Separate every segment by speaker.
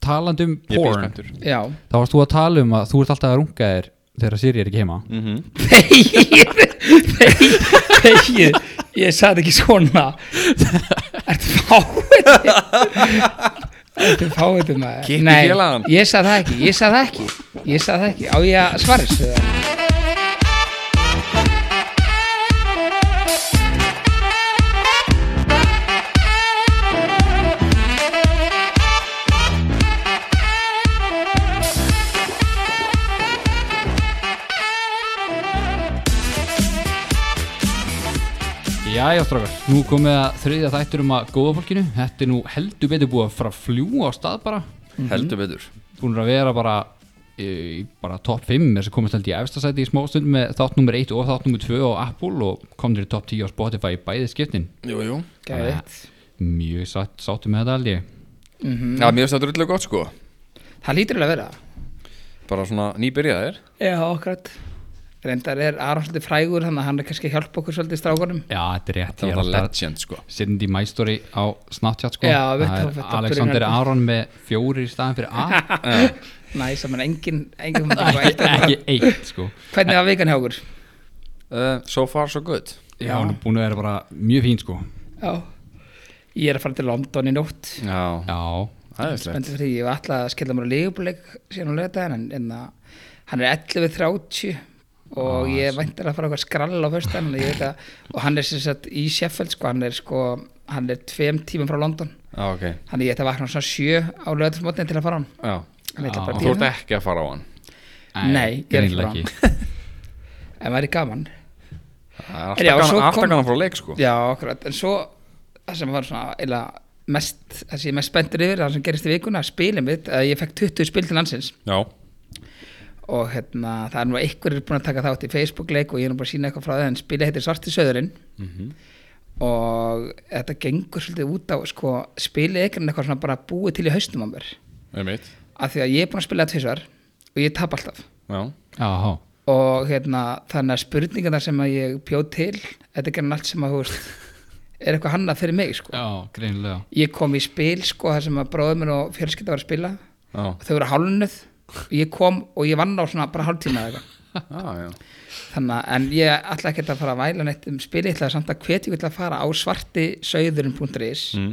Speaker 1: talandi um
Speaker 2: Ég er
Speaker 1: porn
Speaker 2: bíspenntur
Speaker 3: já
Speaker 1: þá varst þú að tala um að þú ert alltaf að runga þér þegar Siri er ekki heima
Speaker 2: mm
Speaker 3: Þegið, þegið, þegið Ég sagði ekki svona Ertu fáið Ertu fáið maður
Speaker 2: Kippi
Speaker 3: Nei,
Speaker 2: félagann.
Speaker 3: ég sagði það ekki Ég sagði það ekki Ég sagði það ekki Á ég að svarist eða?
Speaker 1: Jæja strákar, nú komið að þriðja þættur um að góða fólkinu Þetta er nú heldur betur búið að fara að fljúa á stað bara
Speaker 2: Heldur betur
Speaker 1: Búin að vera bara e, í bara topp 5 þess að komast held í efstasæti í smástund með þátt nummer 1 og þátt nummer 2 á Apple og komnir í topp 10 á Spotify í bæði skiptin
Speaker 2: Jú, jú
Speaker 3: Geðveikt.
Speaker 1: Mjög satt, sáttu með þetta held ég
Speaker 2: Já, mér finnst það drullu gott sko
Speaker 3: Það lítur alveg að vera
Speaker 2: Bara svona nýbyrjaðir
Speaker 3: Já, akkurat Reyndar er Aron svolítið frægur þannig að hann er kannski að hjálpa okkur svolítið strákunum
Speaker 1: Já, þetta er rétt,
Speaker 2: Það
Speaker 1: ég er
Speaker 2: var það
Speaker 1: alltaf
Speaker 2: legend sko
Speaker 1: Sindi my story á Snapchat sko
Speaker 3: Já, við
Speaker 1: Það
Speaker 3: tókum
Speaker 1: er
Speaker 3: þetta
Speaker 1: Alexander
Speaker 3: byrjun hérna.
Speaker 1: Aron með fjóri í staðan fyrir A
Speaker 3: Næ, sem er engin, engin
Speaker 1: Ekki eitt sko
Speaker 3: Hvernig var vikan hjá okkur?
Speaker 2: uh, So far so good
Speaker 1: Já, hann er búin að vera bara mjög fín sko
Speaker 3: Já Ég er að fara til London í nótt
Speaker 2: Já,
Speaker 1: Já,
Speaker 2: aðeinslegt
Speaker 3: Spendið fyrir því, ég var alltaf að skella mér á leigubuleik síðan á lögdæðan en, en að, hann er 11.30 og ég væntar að fara eitthvað skrall á föstudan og hann er sem sagt í Sheffield sko, hann er sko, hann er tveim tímum frá London
Speaker 2: Já, ok
Speaker 3: hann er ég ætti að vakna svona sjö á lögdæðsmotni til að fara á hann
Speaker 2: Já
Speaker 3: Hann ætla
Speaker 1: Já.
Speaker 3: bara að
Speaker 2: Þú
Speaker 3: bíða
Speaker 2: ert
Speaker 3: með.
Speaker 2: ekki að fara á hann
Speaker 3: Nei, ég er ekki
Speaker 1: greinilega
Speaker 3: bara. en væri gaman
Speaker 2: Það er
Speaker 3: Herri, já,
Speaker 2: alltaf
Speaker 3: svo
Speaker 2: gaman- alltaf
Speaker 3: kom-
Speaker 2: kannan frá leik sko
Speaker 3: Já, akkurat, en svo það sem var svona eila mest, það sem ég er mest spenntur yfir það sem gerist í vikuna, spilum við að ég fekk 20 spil til landsins
Speaker 2: Já
Speaker 3: og hérna, það er nú einhverjir búin að taka þátt í Facebook-leik og ég er nú bara að sína eitthvað frá það en spilið heitir Svarti Söðurinn og þetta gengur svolítið út á sko, spilið ekkert eitthvað svona bara búið til í haustum á mér
Speaker 2: Einmitt
Speaker 3: af því að ég er búin að spila tvisvar og ég tap alltaf
Speaker 2: Já
Speaker 1: Jáhá,
Speaker 3: og hérna, þannig að spurningarna sem að ég bjóð til þetta er grann allt sem að þú veist er eitthvað hannað fyrir mig sko.
Speaker 1: já, greinilega
Speaker 3: ég kom í spil sko, þar sem að bróður minn og fjölskylda var að spila
Speaker 2: Já
Speaker 3: og þau voru hálunnuð og ég kom og ég vann á svona bara hálftíma eða eitthvað
Speaker 2: Já, já
Speaker 3: þannig að, en ég ætla ekki að fara að væla neitt um spil, ég ætla samt að hvetja ykkur til að fara á svartisauðurinn.is
Speaker 2: Mm.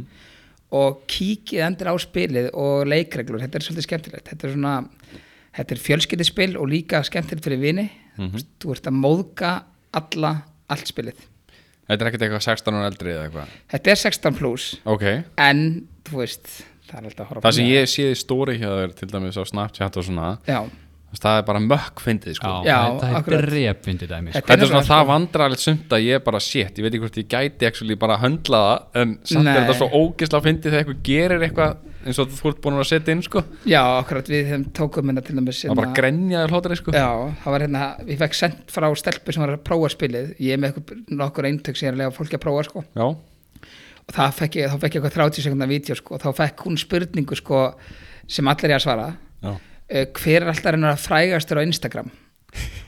Speaker 3: og kíkið endur á spilið og leikreglur, þetta er svolítið skemmtilegt þetta er svona, þetta er fjölskyldispil og líka skemmtilegt fyrir vini
Speaker 2: Mhm.
Speaker 3: þú ert að móðga alla allt spilið,
Speaker 2: Þetta er ekkert eitthvað 16 og eldri eða eitthvað
Speaker 3: þetta er 16 plus
Speaker 2: Ok
Speaker 3: en, þú veist það er alltaf að horfa
Speaker 2: Það sem ég séði stóri hjá þér til dæmis á Snapchat og svona
Speaker 3: já,
Speaker 2: það er bara mökk fyndið sko
Speaker 1: Já,
Speaker 3: Já,
Speaker 1: það er
Speaker 3: akkurat.
Speaker 1: drep fyndið dæmi sko.
Speaker 3: Þetta-
Speaker 2: Þetta er svona
Speaker 3: nefnilega,
Speaker 2: það
Speaker 3: sko.
Speaker 2: vandrarlegt sumt að ég bara shit, ég veit ekki hvort ég gæti actually bara að höndla það en samt
Speaker 3: Nei.
Speaker 2: er þetta svo ógisla að fyndi þegar eitthvað gerir eitthvað eins og þú ert búin að setja inn sko það
Speaker 3: já, akkurat við þeim tókum hérna til dæmis
Speaker 2: er bara
Speaker 3: hérna-
Speaker 2: grenjaður hlótari sko
Speaker 3: Já, það var hérna, ég fekk sendt frá stelpu sem var að prófa spilið, ég er með einhver- nokkur eintök sem ég er að lega fólki að prófa sko
Speaker 2: Já,
Speaker 3: og það fekk ég, þá fekk ég eitthvað 30 sekundar vídeo sko og þá fekk hún spurningu sko sem allir er að svara
Speaker 2: já,
Speaker 3: uh, hver er alltaf reynar að frægastur á Instagram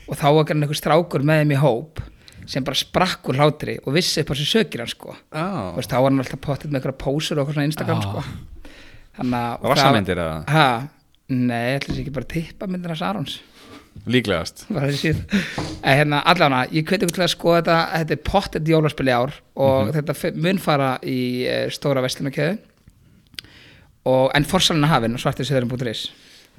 Speaker 3: og þá var grann einhver strákur með þeim í hóp sem bara sprakk úr hlátri og vissi upp á þessu sökir hann sko Þú
Speaker 2: já.
Speaker 3: veist, þá var hann alltaf pottet með einhverja pósur og eitthvað svona á Instagram
Speaker 1: Já.
Speaker 3: sko Þannig að og
Speaker 2: Rassamyndir eða?
Speaker 3: Ha, nei, ætlis ekki bara tippa myndir hans Arons
Speaker 2: líklegast
Speaker 3: bara þessi en hérna allan að ég hveti ykkur til að skoða þetta þetta er pottet jólaspil í ár og
Speaker 1: Mhm.
Speaker 3: þetta fe- mun fara í eh, stóra vestlunarkjöðu og en forsalina hafin og svartisöðurinn.is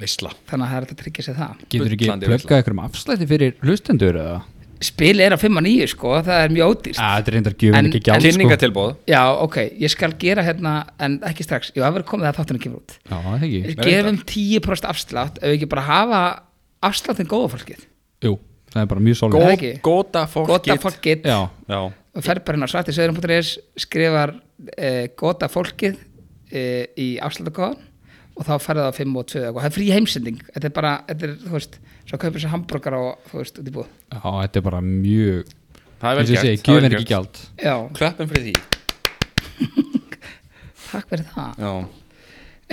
Speaker 2: Veisla
Speaker 3: þannig að það er hægt að tryggja sér það
Speaker 1: Getur ekki
Speaker 2: Bullandi
Speaker 1: plöggað ykkur um afslætti fyrir hlustendur eða?
Speaker 3: spil er á 5 og 9 sko, það er mjög ódýrst
Speaker 1: Ja, þetta er reyndar gjöfum
Speaker 3: En-
Speaker 1: ekki
Speaker 3: en-
Speaker 1: gjald sko.
Speaker 2: Kynningatilbóð
Speaker 3: já ok, ég skal gera hérna en ekki strax, jú það verður komið að þáttunum kemur út
Speaker 1: Já, það ekki
Speaker 3: við gefum 10% afslátt ef við ekki bara hafa afsláttin góða fólkið
Speaker 1: Jú, það er bara mjög
Speaker 3: Góð-
Speaker 1: svolítið
Speaker 3: það ekki?
Speaker 2: Góta
Speaker 3: góða
Speaker 2: fólkið
Speaker 3: fólkið
Speaker 1: Já,
Speaker 2: Já,
Speaker 3: og fer bara inn á svartisöðurum.is skrifar uh, gota fólkið uh, í afslutakóðan og þá ferði það á 5 og 2 og það er frí heimsending þetta er bara, þetta er, þú veist svo kaupir þessi hambúrgar og þú veist, út í búð
Speaker 1: já, þetta er bara mjög
Speaker 2: það er vel
Speaker 1: eins og ég segi,
Speaker 2: gert það er
Speaker 1: Gjöfum
Speaker 2: vel
Speaker 1: ekki
Speaker 2: gert.
Speaker 1: gjald
Speaker 3: já,
Speaker 2: Klöppum fyrir því
Speaker 3: takk fyrir það
Speaker 2: Já,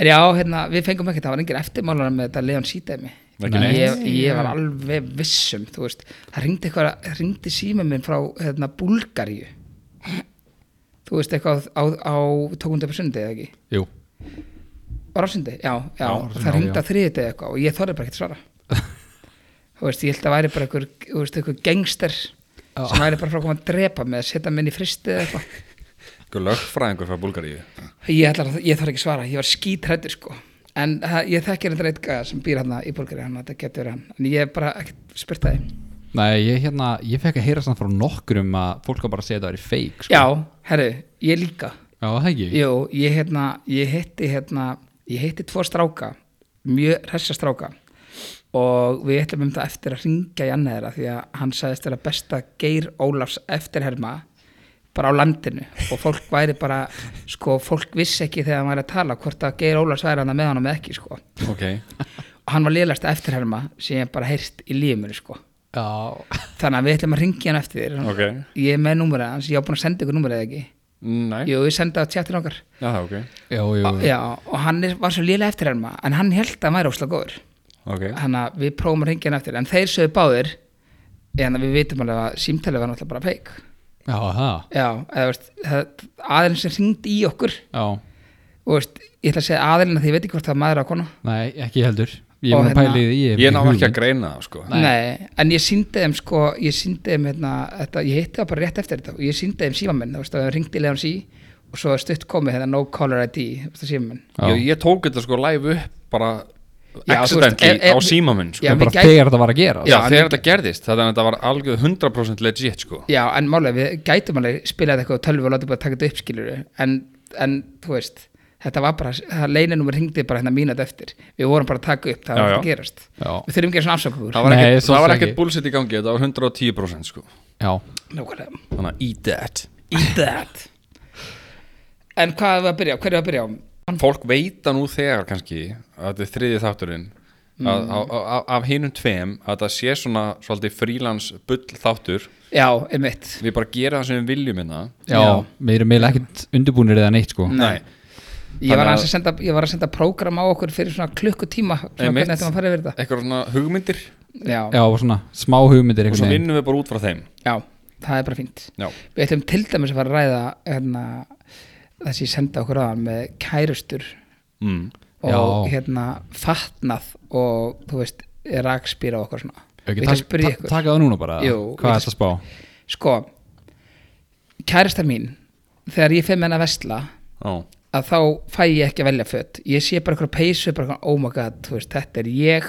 Speaker 3: en já, hérna, við fengum ekkert, það var engin eftirmálar með þetta Leon Sýdæmi
Speaker 2: Ekki neitt.
Speaker 3: ég, ég var alveg vissum, þú veist það ringdi eitthvað, það ringdi síma minn frá hérna, Búlgaríu þú veist, eitthvað á, á, á tókundu upp sundi eða ekki
Speaker 1: Jú,
Speaker 3: Rásundi, já,
Speaker 2: Já,
Speaker 3: já, já
Speaker 1: Rásundi,
Speaker 3: það
Speaker 1: já.
Speaker 3: ringda þriðið eitthvað og ég þorði bara ekki að svara þú veist, ég held að væri bara einhver, þú veist, einhver gangster sem væri bara frá að koma að drepa mig að setja mig inn í fristið eða eitthvað
Speaker 2: Einhver lögfræðingur frá Búlgaríu
Speaker 3: ég, ætlar að- ég þarf ekki að svara, ég var skítrættur sko en það, ég þekki hérna eitt gæða sem býr hann í Búlgari, hann þetta getur verið hann en ég hef bara ekkert spurt það
Speaker 1: Nei, ég, hérna, ég fekk að heyra samt frá nokkrum að fólk var bara að segja að það væri fake sko.
Speaker 3: já, herru, ég líka
Speaker 1: Já, það ekki
Speaker 3: Jú, ég, hérna, ég hitti hérna, ég hitti tvo stráka mjög hressa stráka og við ætlum um það eftir að ringja í annað þeirra því að hann sagðist vera besta Geir Ólafs eftirherma bara á landinu og fólk væri bara sko, fólk vissi ekki þegar hann væri að tala hvort að Geir Ólafs væri hann með honum eða ekki sko.
Speaker 2: Ok
Speaker 3: og hann var liðlast eftirherma sem ég bara heyrst í lífumur sko.
Speaker 1: Já,
Speaker 3: þannig að við ætlum að ringja hann eftir þér
Speaker 2: Ok
Speaker 3: ég er með númurið hans, ég á búin að senda ykkur númurið eða ekki
Speaker 2: Næ
Speaker 3: Jú, ég sendi það á tjáttin okkar
Speaker 2: Já, það er ok
Speaker 1: já, jú
Speaker 3: Já, og hann er, var svo lélega eftir hérna en hann held að hann væri óslega góður
Speaker 2: Ok
Speaker 3: þannig að við prófum að ringja hann eftir en þeir sögðu báðir en við vitum alveg að símtalið var náttúrulega bara feik
Speaker 1: Já, það
Speaker 3: Já, eða veist það- aðilinn sem ringd í okkur
Speaker 1: Já,
Speaker 3: og veist, ég ætla að segja aðilinn að því ég veit ekki hvort það var maður að kona
Speaker 1: nei, ekki heldur Ég
Speaker 3: Og
Speaker 1: er mér að
Speaker 3: hérna-
Speaker 1: pæli því hef
Speaker 2: Ég ná
Speaker 1: hugmynd.
Speaker 2: ekki að greina það sko
Speaker 1: Nei.
Speaker 3: en ég síndi þeim sko, ég síndi þeim hérna, þetta, ég hitti það bara rétt eftir þetta og ég síndi þeim símamenn, þú veist, það ringdi í leiðan sí og svo stutt komið hérna no caller ID, þú veist, símamenn
Speaker 1: Já.
Speaker 2: Ég, ég tók þetta sko live upp bara
Speaker 3: Já, þú veist,
Speaker 2: accidentally
Speaker 3: ef- ef-
Speaker 2: á síma minn sko.
Speaker 1: Það
Speaker 3: Já,
Speaker 1: er
Speaker 3: við
Speaker 1: bara
Speaker 3: gæt-
Speaker 1: þegar það var að gera
Speaker 2: Já,
Speaker 3: já,
Speaker 2: þegar
Speaker 3: en-
Speaker 2: þetta gerðist þannig að þetta var algjör 100% legit sko
Speaker 3: Já, en málega, við gætum alveg spilað eitthvað á tölvu og látið bara taka þetta upp skiluru en, en, þú veist, þetta var bara það leinanúmer hringdi bara hérna mínat eftir við vorum bara að taka upp, það
Speaker 2: Já,
Speaker 3: var
Speaker 2: já.
Speaker 3: ekki að gerast
Speaker 1: Já.
Speaker 3: Við þurfum ekki að svona afsökugur
Speaker 2: Það var
Speaker 1: Nei,
Speaker 2: ekkert,
Speaker 1: svo
Speaker 2: það var
Speaker 1: sem
Speaker 2: ekkert
Speaker 1: ekki.
Speaker 2: bullshit í gangi þetta var 110% sko
Speaker 1: Já,
Speaker 3: Nákvæmlega,
Speaker 2: Þannig að eat that
Speaker 3: eat that En hvað er við að byrja á? Hverju að byrja á?
Speaker 2: Fólk veita nú þegar kannski að þetta er þriðið þátturinn að, að, að, af hinum tveim að þetta sé svona svolítið frílans bull þáttur
Speaker 3: Já, einmitt
Speaker 2: við bara gera það sem við viljum hérna
Speaker 1: já,
Speaker 3: Já.
Speaker 1: við erum meðlega ekkert undirbúinir eða neitt sko
Speaker 2: Nei,
Speaker 3: Ég var,
Speaker 2: Þannig að-
Speaker 3: aðeins að senda, ég var að senda prógram á okkur fyrir svona klukkutíma svona
Speaker 2: Einmitt.
Speaker 3: hvernig þetta maður að fara yfir þetta
Speaker 2: eitthvað svona hugmyndir
Speaker 3: Já,
Speaker 1: Já, og svona smá hugmyndir
Speaker 2: og svo
Speaker 1: einhvern veginn
Speaker 2: vinnum við bara út frá þeim
Speaker 3: já, það er bara fínt
Speaker 2: Já,
Speaker 3: Við ætlum til dæmis að fara að ræða hérna, það sem ég senda okkur aðan með kærustur
Speaker 2: mm.
Speaker 3: og
Speaker 1: Já.
Speaker 3: hérna fatnað og þú veist rakspýra og okkur svona
Speaker 1: Ok,
Speaker 3: Við ætlum að
Speaker 1: tak-
Speaker 3: spyrja
Speaker 1: ta-
Speaker 3: ykkur
Speaker 1: Taka það núna bara
Speaker 3: Jú,
Speaker 1: Hvað
Speaker 3: við-
Speaker 1: er það spá?
Speaker 3: Sko, kærasta mín þegar ég fyrir með henni að vesla
Speaker 2: Já.
Speaker 3: að þá fæ ég ekki að velja fött ég sé bara eitthvað peysu, bara eitthvað oh my god þú veist, þetta er ég,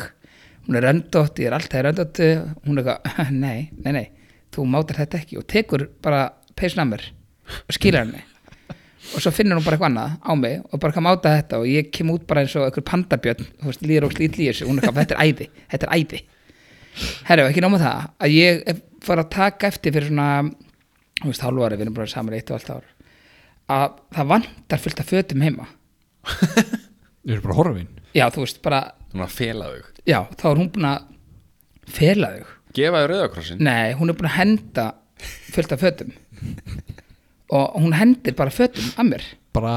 Speaker 3: hún er röndótt ég er alltaf röndótt hún er eitthvað, nei, nei, nei, þú mátar þetta ekki og tekur bara peysun að mér og skýrar henni og svo finnur hún bara eitthvað annað á mig og bara hvað máta þetta og ég kem út bara eins og einhver pandabjörn, þú veist, líður og slítli í þessu hún er eitthvað, þetta er æði, þetta er æði herru, ekki náma það að ég var að taka eftir fyrir svona þú veist, hálfu ári, við erum bara saman í eitt og allt ár að það vantar fullt af fötum heima
Speaker 1: Við erum bara horfin
Speaker 3: já, þú veist, bara,
Speaker 2: Þannig að fela þau
Speaker 3: já, þá er hún búin að fela þau
Speaker 2: Gefa þau rauðakrossin
Speaker 3: nei, hún er búin að henda fullt af fötum og hún hendir bara fötum að mér
Speaker 1: Bara,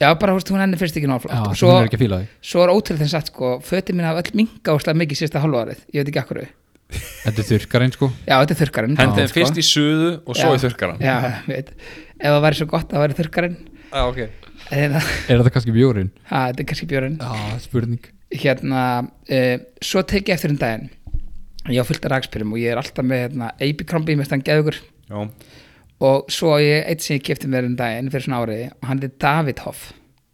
Speaker 3: já, bara, þú veist, hún hendir fyrst ekki
Speaker 1: já,
Speaker 3: náflátt
Speaker 1: hún er ekki að fíla þig
Speaker 3: svo er ótrúlega þess að sko, fötum mín hafa öll minga óslega mikið sísta hálfu árið, ég veit ekki akkur já,
Speaker 1: Þetta er þurrkarinn sko
Speaker 3: þetta er þurrkarinn
Speaker 2: Hendi þeim fyrst í suðu og svo í þurrkaran
Speaker 3: Mm. sko. já, ég veit, ef það væri svo gott það væri þurrkarinn
Speaker 2: ah, okay.
Speaker 3: en það,
Speaker 1: Er þetta kannski bjórin?
Speaker 3: ha, þetta er kannski björinn
Speaker 1: Já, spurning
Speaker 3: hérna, uh, svo tek ég eftir um daginn ég á fullt af rakspyrum og ég er alltaf með hérna, eipikrambi með stann geðugur
Speaker 2: Já.
Speaker 3: og svo á ég eitt sem ég kefti mér um daginn fyrir svona áriði og hann er David Hoff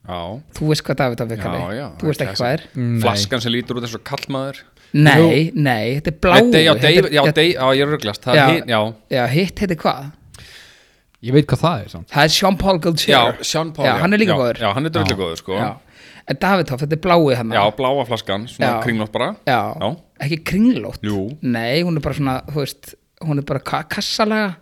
Speaker 2: Já.
Speaker 3: þú veist hvað David Hoff er
Speaker 2: Já,
Speaker 3: kallið
Speaker 2: já,
Speaker 3: þú veist ekki hvað er
Speaker 1: Nei.
Speaker 2: Flaskan sem lítur út eins og kallmaður
Speaker 3: nei, nei, þetta er blá
Speaker 2: Nei, Já, Dave- já, Dave- já, ég er rugglast Það
Speaker 3: Já.
Speaker 2: er hin, já
Speaker 3: já, hitt heiti hvað
Speaker 1: Ég veit hvað það er samt
Speaker 3: það er Sean Paul Gaultier
Speaker 2: Já, Sean Paul
Speaker 3: Já, hann er líka góður.
Speaker 2: Já, hann er drullu góður sko Já,
Speaker 3: Já. en David Hoff, þetta er blái hann
Speaker 2: bláa flaskan, svona
Speaker 3: Já.
Speaker 2: kringlótt bara
Speaker 3: Já,
Speaker 2: Já.
Speaker 3: ekki kringlótt
Speaker 2: Jú.
Speaker 3: Nei, hún er bara svona, þú veist hún er bara ka kassalega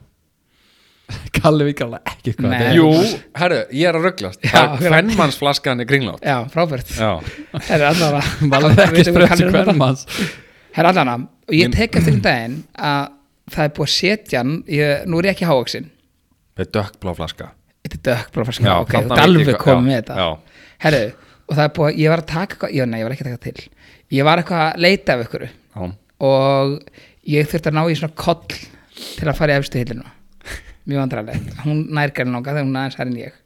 Speaker 1: Kalli veit kalla ekki hvað
Speaker 3: Nei.
Speaker 1: þetta er
Speaker 2: Jú, herru, ég er að rugglast
Speaker 3: Já.
Speaker 2: Fennmannsflaskan er kringlótt
Speaker 3: Já, frábært
Speaker 2: Já,
Speaker 3: Það er allan að
Speaker 1: Vala ekki spröttu hvern manns
Speaker 3: Það er allan að Og ég tek eftir um daginn að það er búið að setja hann ég, Nú er ég ekki hávaksin
Speaker 2: með dökkblá flaska
Speaker 3: Þetta er dökk bara farska
Speaker 2: Já,
Speaker 3: Ok,
Speaker 2: þarna
Speaker 3: þú er
Speaker 2: veit ég
Speaker 3: alveg
Speaker 2: hvað-
Speaker 3: komið
Speaker 2: já,
Speaker 3: með þetta
Speaker 2: já.
Speaker 3: Herru, og það er búið að Ég var að taka eitthvað Já, nei, ég var ekki að taka til Ég var eitthvað að leita af ykkur
Speaker 2: Já,
Speaker 3: Og ég þurfti að ná í svona koll Til að fara í efstu hillinu Mjög vandrarlegt Hún nærgar langa þegar hún er aðeins hær en ég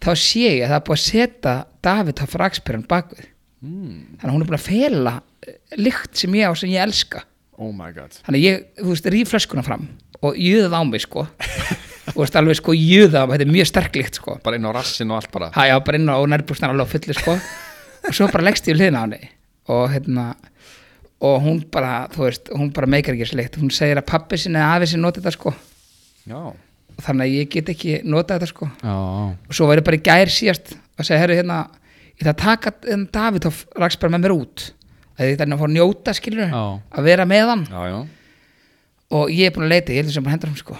Speaker 3: þá sé ég að það er búið að setja David á fraksperun bakvið mm. þannig að hún er búin að fela eh, lykt sem ég á sem ég elska
Speaker 2: Oh my god
Speaker 3: þannig að ég, þú veist, ríf flöskuna fram og jöð á mig sko þú veist alveg sko jöð á mig, þetta er mjög sterklykt sko
Speaker 2: Bara inn á rassin og allt bara
Speaker 3: hæ, já, bara inn á nærbústan alveg á fullu sko og svo bara leggst ég við hliðina á henni og hérna og hún bara, þú veist, hún bara meikar ekki slikt hún segir að pappi sinni eða afi sinni nota þetta sko
Speaker 2: Já,
Speaker 3: þannig að ég get ekki nota þetta sko
Speaker 1: já,
Speaker 3: og svo var ég bara í gær síðast að segja, herru, hérna, ég ætla að taka hérna, David og raks bara með mér út að ég þannig að fá að njóta, skilur
Speaker 1: Já.
Speaker 3: að vera með hann
Speaker 2: já, já
Speaker 3: og ég er búin að leita, ég held sem bara hendur hann sko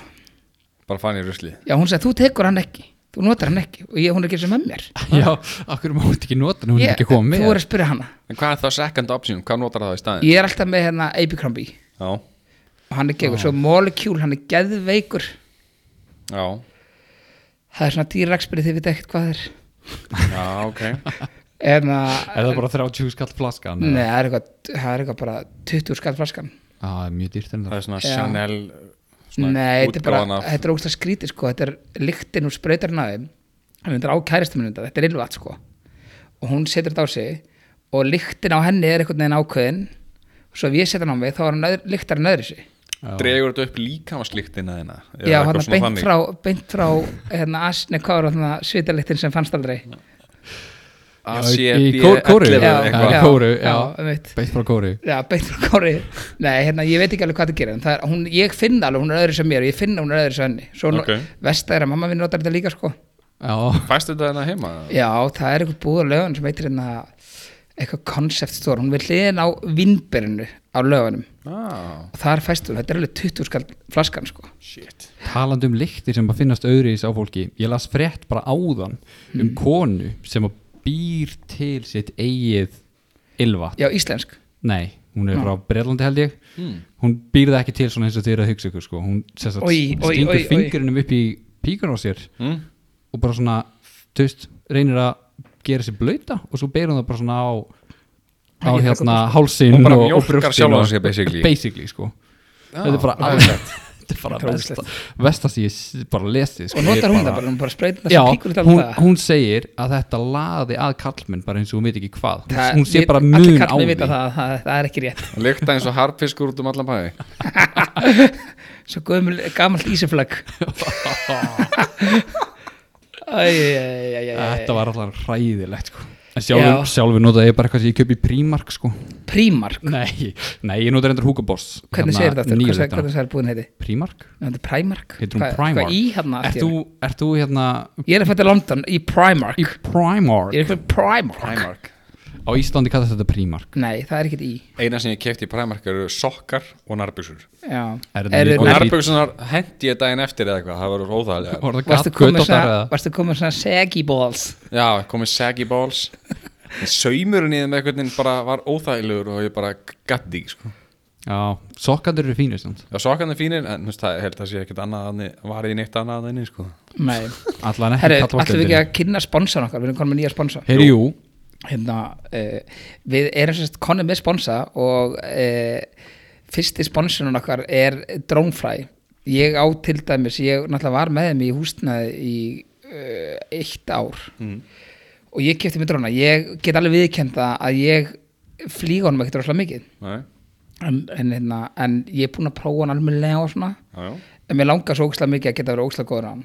Speaker 2: Bara fann í rusli
Speaker 3: já, hún sagði, þú tekur hann ekki, þú notar hann ekki og ég, hún er ekki sem með mér
Speaker 1: já akkur má hún ekki nota hann, hún er
Speaker 3: Ég-
Speaker 1: ekki komið
Speaker 3: þú er að spyrja hana
Speaker 2: En hvað er það second option? Hvað notar það í staðin?
Speaker 3: ég er alltaf með hérna Abercrombie
Speaker 2: Já,
Speaker 3: og hann er gegur, svo Molecule, hann er geðveikur
Speaker 2: já,
Speaker 3: það er svona dýrraksbyrði þið veit ekkert hvað það
Speaker 2: já, ok
Speaker 3: er en að,
Speaker 1: er það bara 30 skall flaskan
Speaker 3: Hérna, nei,
Speaker 1: eða?
Speaker 3: það er eitthvað það er eitthvað bara 20 skall flaskan
Speaker 1: Já, það er mjög dýrt en
Speaker 2: Það
Speaker 1: það
Speaker 2: er svona
Speaker 3: Já.
Speaker 2: Chanel
Speaker 3: nei, þetta er
Speaker 2: útgáfan
Speaker 3: bara,
Speaker 2: af-
Speaker 3: þetta er ógst að skríti sko, þetta er lyktin úr sprautarinn af þeim hann er á kæristum minni þetta er ylvat sko og hún setur þetta á sig og lyktin á henni er einhvern veginn ákveðin og svo ef ég setja hann á mig, þá er hann öðru, lyktar hann öðru sig
Speaker 1: Já.
Speaker 2: Dregur þetta upp líkamasliktina þina
Speaker 3: já, hann er beint frá, beint frá hérna, asni, hvað var það, svitalyktin sem fannst aldrei
Speaker 1: Já,
Speaker 2: ACB
Speaker 1: í- í Kó- Kóru.
Speaker 2: ellefu
Speaker 1: Já,
Speaker 2: eitthvað.
Speaker 1: já. Kóru,
Speaker 3: já, einmitt.
Speaker 1: beitt frá kóri
Speaker 3: Já, beint frá kári Nei, hérna, ég veit ekki alveg hvað það gerir en það er, hún, Ég finna alveg, hún er öðru sem mér og ég finna hún er öðru sem henni Svo
Speaker 2: Ok.
Speaker 3: okay. vest að mamma minn notar þetta líka sko
Speaker 1: já,
Speaker 2: Fæstu þetta hérna heima?
Speaker 3: Já, það er eitthvað búið á lögun sem heitir hérna eitthvað concept store, hún vil hliðin á vinnberinu á lögunum
Speaker 2: Ah,
Speaker 3: og það er fæstur, þetta er alveg 20 skall flaskan sko
Speaker 2: shit
Speaker 1: talandi um lyktir sem að finnast öðruís á fólki ég las frétt bara áðan
Speaker 3: Mm.
Speaker 1: um konu sem að býr til sitt eigið ylvat
Speaker 3: Já, íslensk
Speaker 1: nei, hún er frá Breitlandi held ég hún býr það ekki til svona eins og þið eru að hugsa ykkur sko. hún sem sagt,
Speaker 3: Oj, oj, oj,
Speaker 1: stingur
Speaker 3: oj.
Speaker 1: fingurinnum upp í píkan á sér
Speaker 2: mm.
Speaker 1: og bara svona þú veist, reynir að gera sér blöyta og svo berum það bara svona á á
Speaker 3: Ég þekki
Speaker 1: hérna hálsinn
Speaker 2: Hún bara
Speaker 1: og, og
Speaker 2: mjólkar
Speaker 1: brjóstin
Speaker 2: sjálfa
Speaker 1: og-
Speaker 2: sig, basically.
Speaker 1: basically sko.
Speaker 2: Já,
Speaker 1: þetta er bara alveg þetta er bara
Speaker 3: Þetta er
Speaker 1: besta, besta sem ég s- bara lesi sko.
Speaker 3: og notar
Speaker 1: Ég
Speaker 3: hún það bara, hún bara spreytir það
Speaker 1: Já,
Speaker 3: sem píkur út alveg
Speaker 1: hún,
Speaker 3: það
Speaker 1: hún segir að þetta laði að kallmenn bara eins og hún veit ekki hvað
Speaker 3: Það-
Speaker 1: hún sé
Speaker 3: við-
Speaker 1: bara
Speaker 3: allir
Speaker 1: mun á
Speaker 3: karlmenn
Speaker 1: því
Speaker 3: vita það, það, það er ekki rétt
Speaker 2: Lykta eins og harfiskur út um allan bæði
Speaker 3: Svo gömul, gamalt ísiflag
Speaker 1: þetta var alltaf ræðilegt sko. en
Speaker 3: Já.
Speaker 1: sjálfur, sjálfur notaði ég bara eitthvað sem ég kaupi í Primark sko.
Speaker 3: Prímark
Speaker 1: nei, nei, ég notaði endur Hugo Boss hérna,
Speaker 3: Hvernig segir þetta aftur?
Speaker 1: nýju
Speaker 3: Hvernig,
Speaker 1: litrana.
Speaker 3: hvernig segir búin hérna heiti?
Speaker 1: Primark?
Speaker 3: Ná, Þetta er Primark
Speaker 1: Heitir hún
Speaker 3: Hvað-
Speaker 1: Primark?
Speaker 3: Hvað í hérna
Speaker 1: Ert
Speaker 3: allt í
Speaker 1: þú,
Speaker 3: einu?
Speaker 1: ert þú hérna
Speaker 3: Ég er að fæta London í Primark
Speaker 1: í Primark?
Speaker 3: Ég er eitthvað Primark.
Speaker 2: Primark
Speaker 1: Á Íslandi kallast þetta Primark
Speaker 3: Nei, það er ekkert í
Speaker 2: Eina sem ég kefti í Primark eru sokkar og narbyggsur
Speaker 3: Já
Speaker 1: Er þetta
Speaker 3: Eru-
Speaker 1: líka-
Speaker 2: Og
Speaker 1: Nei,
Speaker 2: nærbyggsunar hendi ég daginn eftir eða eitthvað Það verður óþægilega
Speaker 1: Var það
Speaker 3: Varstu
Speaker 1: gatt
Speaker 3: komið
Speaker 1: göttóttar
Speaker 3: svona,
Speaker 1: eða?
Speaker 3: varstu komið svona saggy balls
Speaker 2: Já, komið saggy balls En Saumurinn í þeim einhvern veginn bara var óþægilegur og ég bara gatti ekki sko.
Speaker 1: Já, sokkandur eru fínir samt
Speaker 2: Já, sokkarnir fínir, en þú veist, það ég held að sé ekkert annað aðni, var ég neitt annað aðni, sko.
Speaker 3: Nei
Speaker 1: Allan ekki
Speaker 3: Herru, ætlum við ekki
Speaker 1: kallvartendinu
Speaker 3: að kynna sponsan okkar Við erum konum með nýja sponsa
Speaker 1: Herri, jú,
Speaker 3: hérna, uh, Við erum sérst konum með sponsa Og uh, fyrsti sponsunum okkar er Dronefly Ég á til dæmis, ég náttúrulega var með þeim í húsnaði í uh, eitt ár og ég kefti mér dróna ég get alveg viðkenda að ég flýga honum ekkert rosalega mikið
Speaker 2: Nei,
Speaker 3: en, en, hérna, en ég er búin að prófa hann almennilega og svona
Speaker 2: já, já.
Speaker 3: en mér langar svo ógslag mikið að geta verið ógslag góður á hann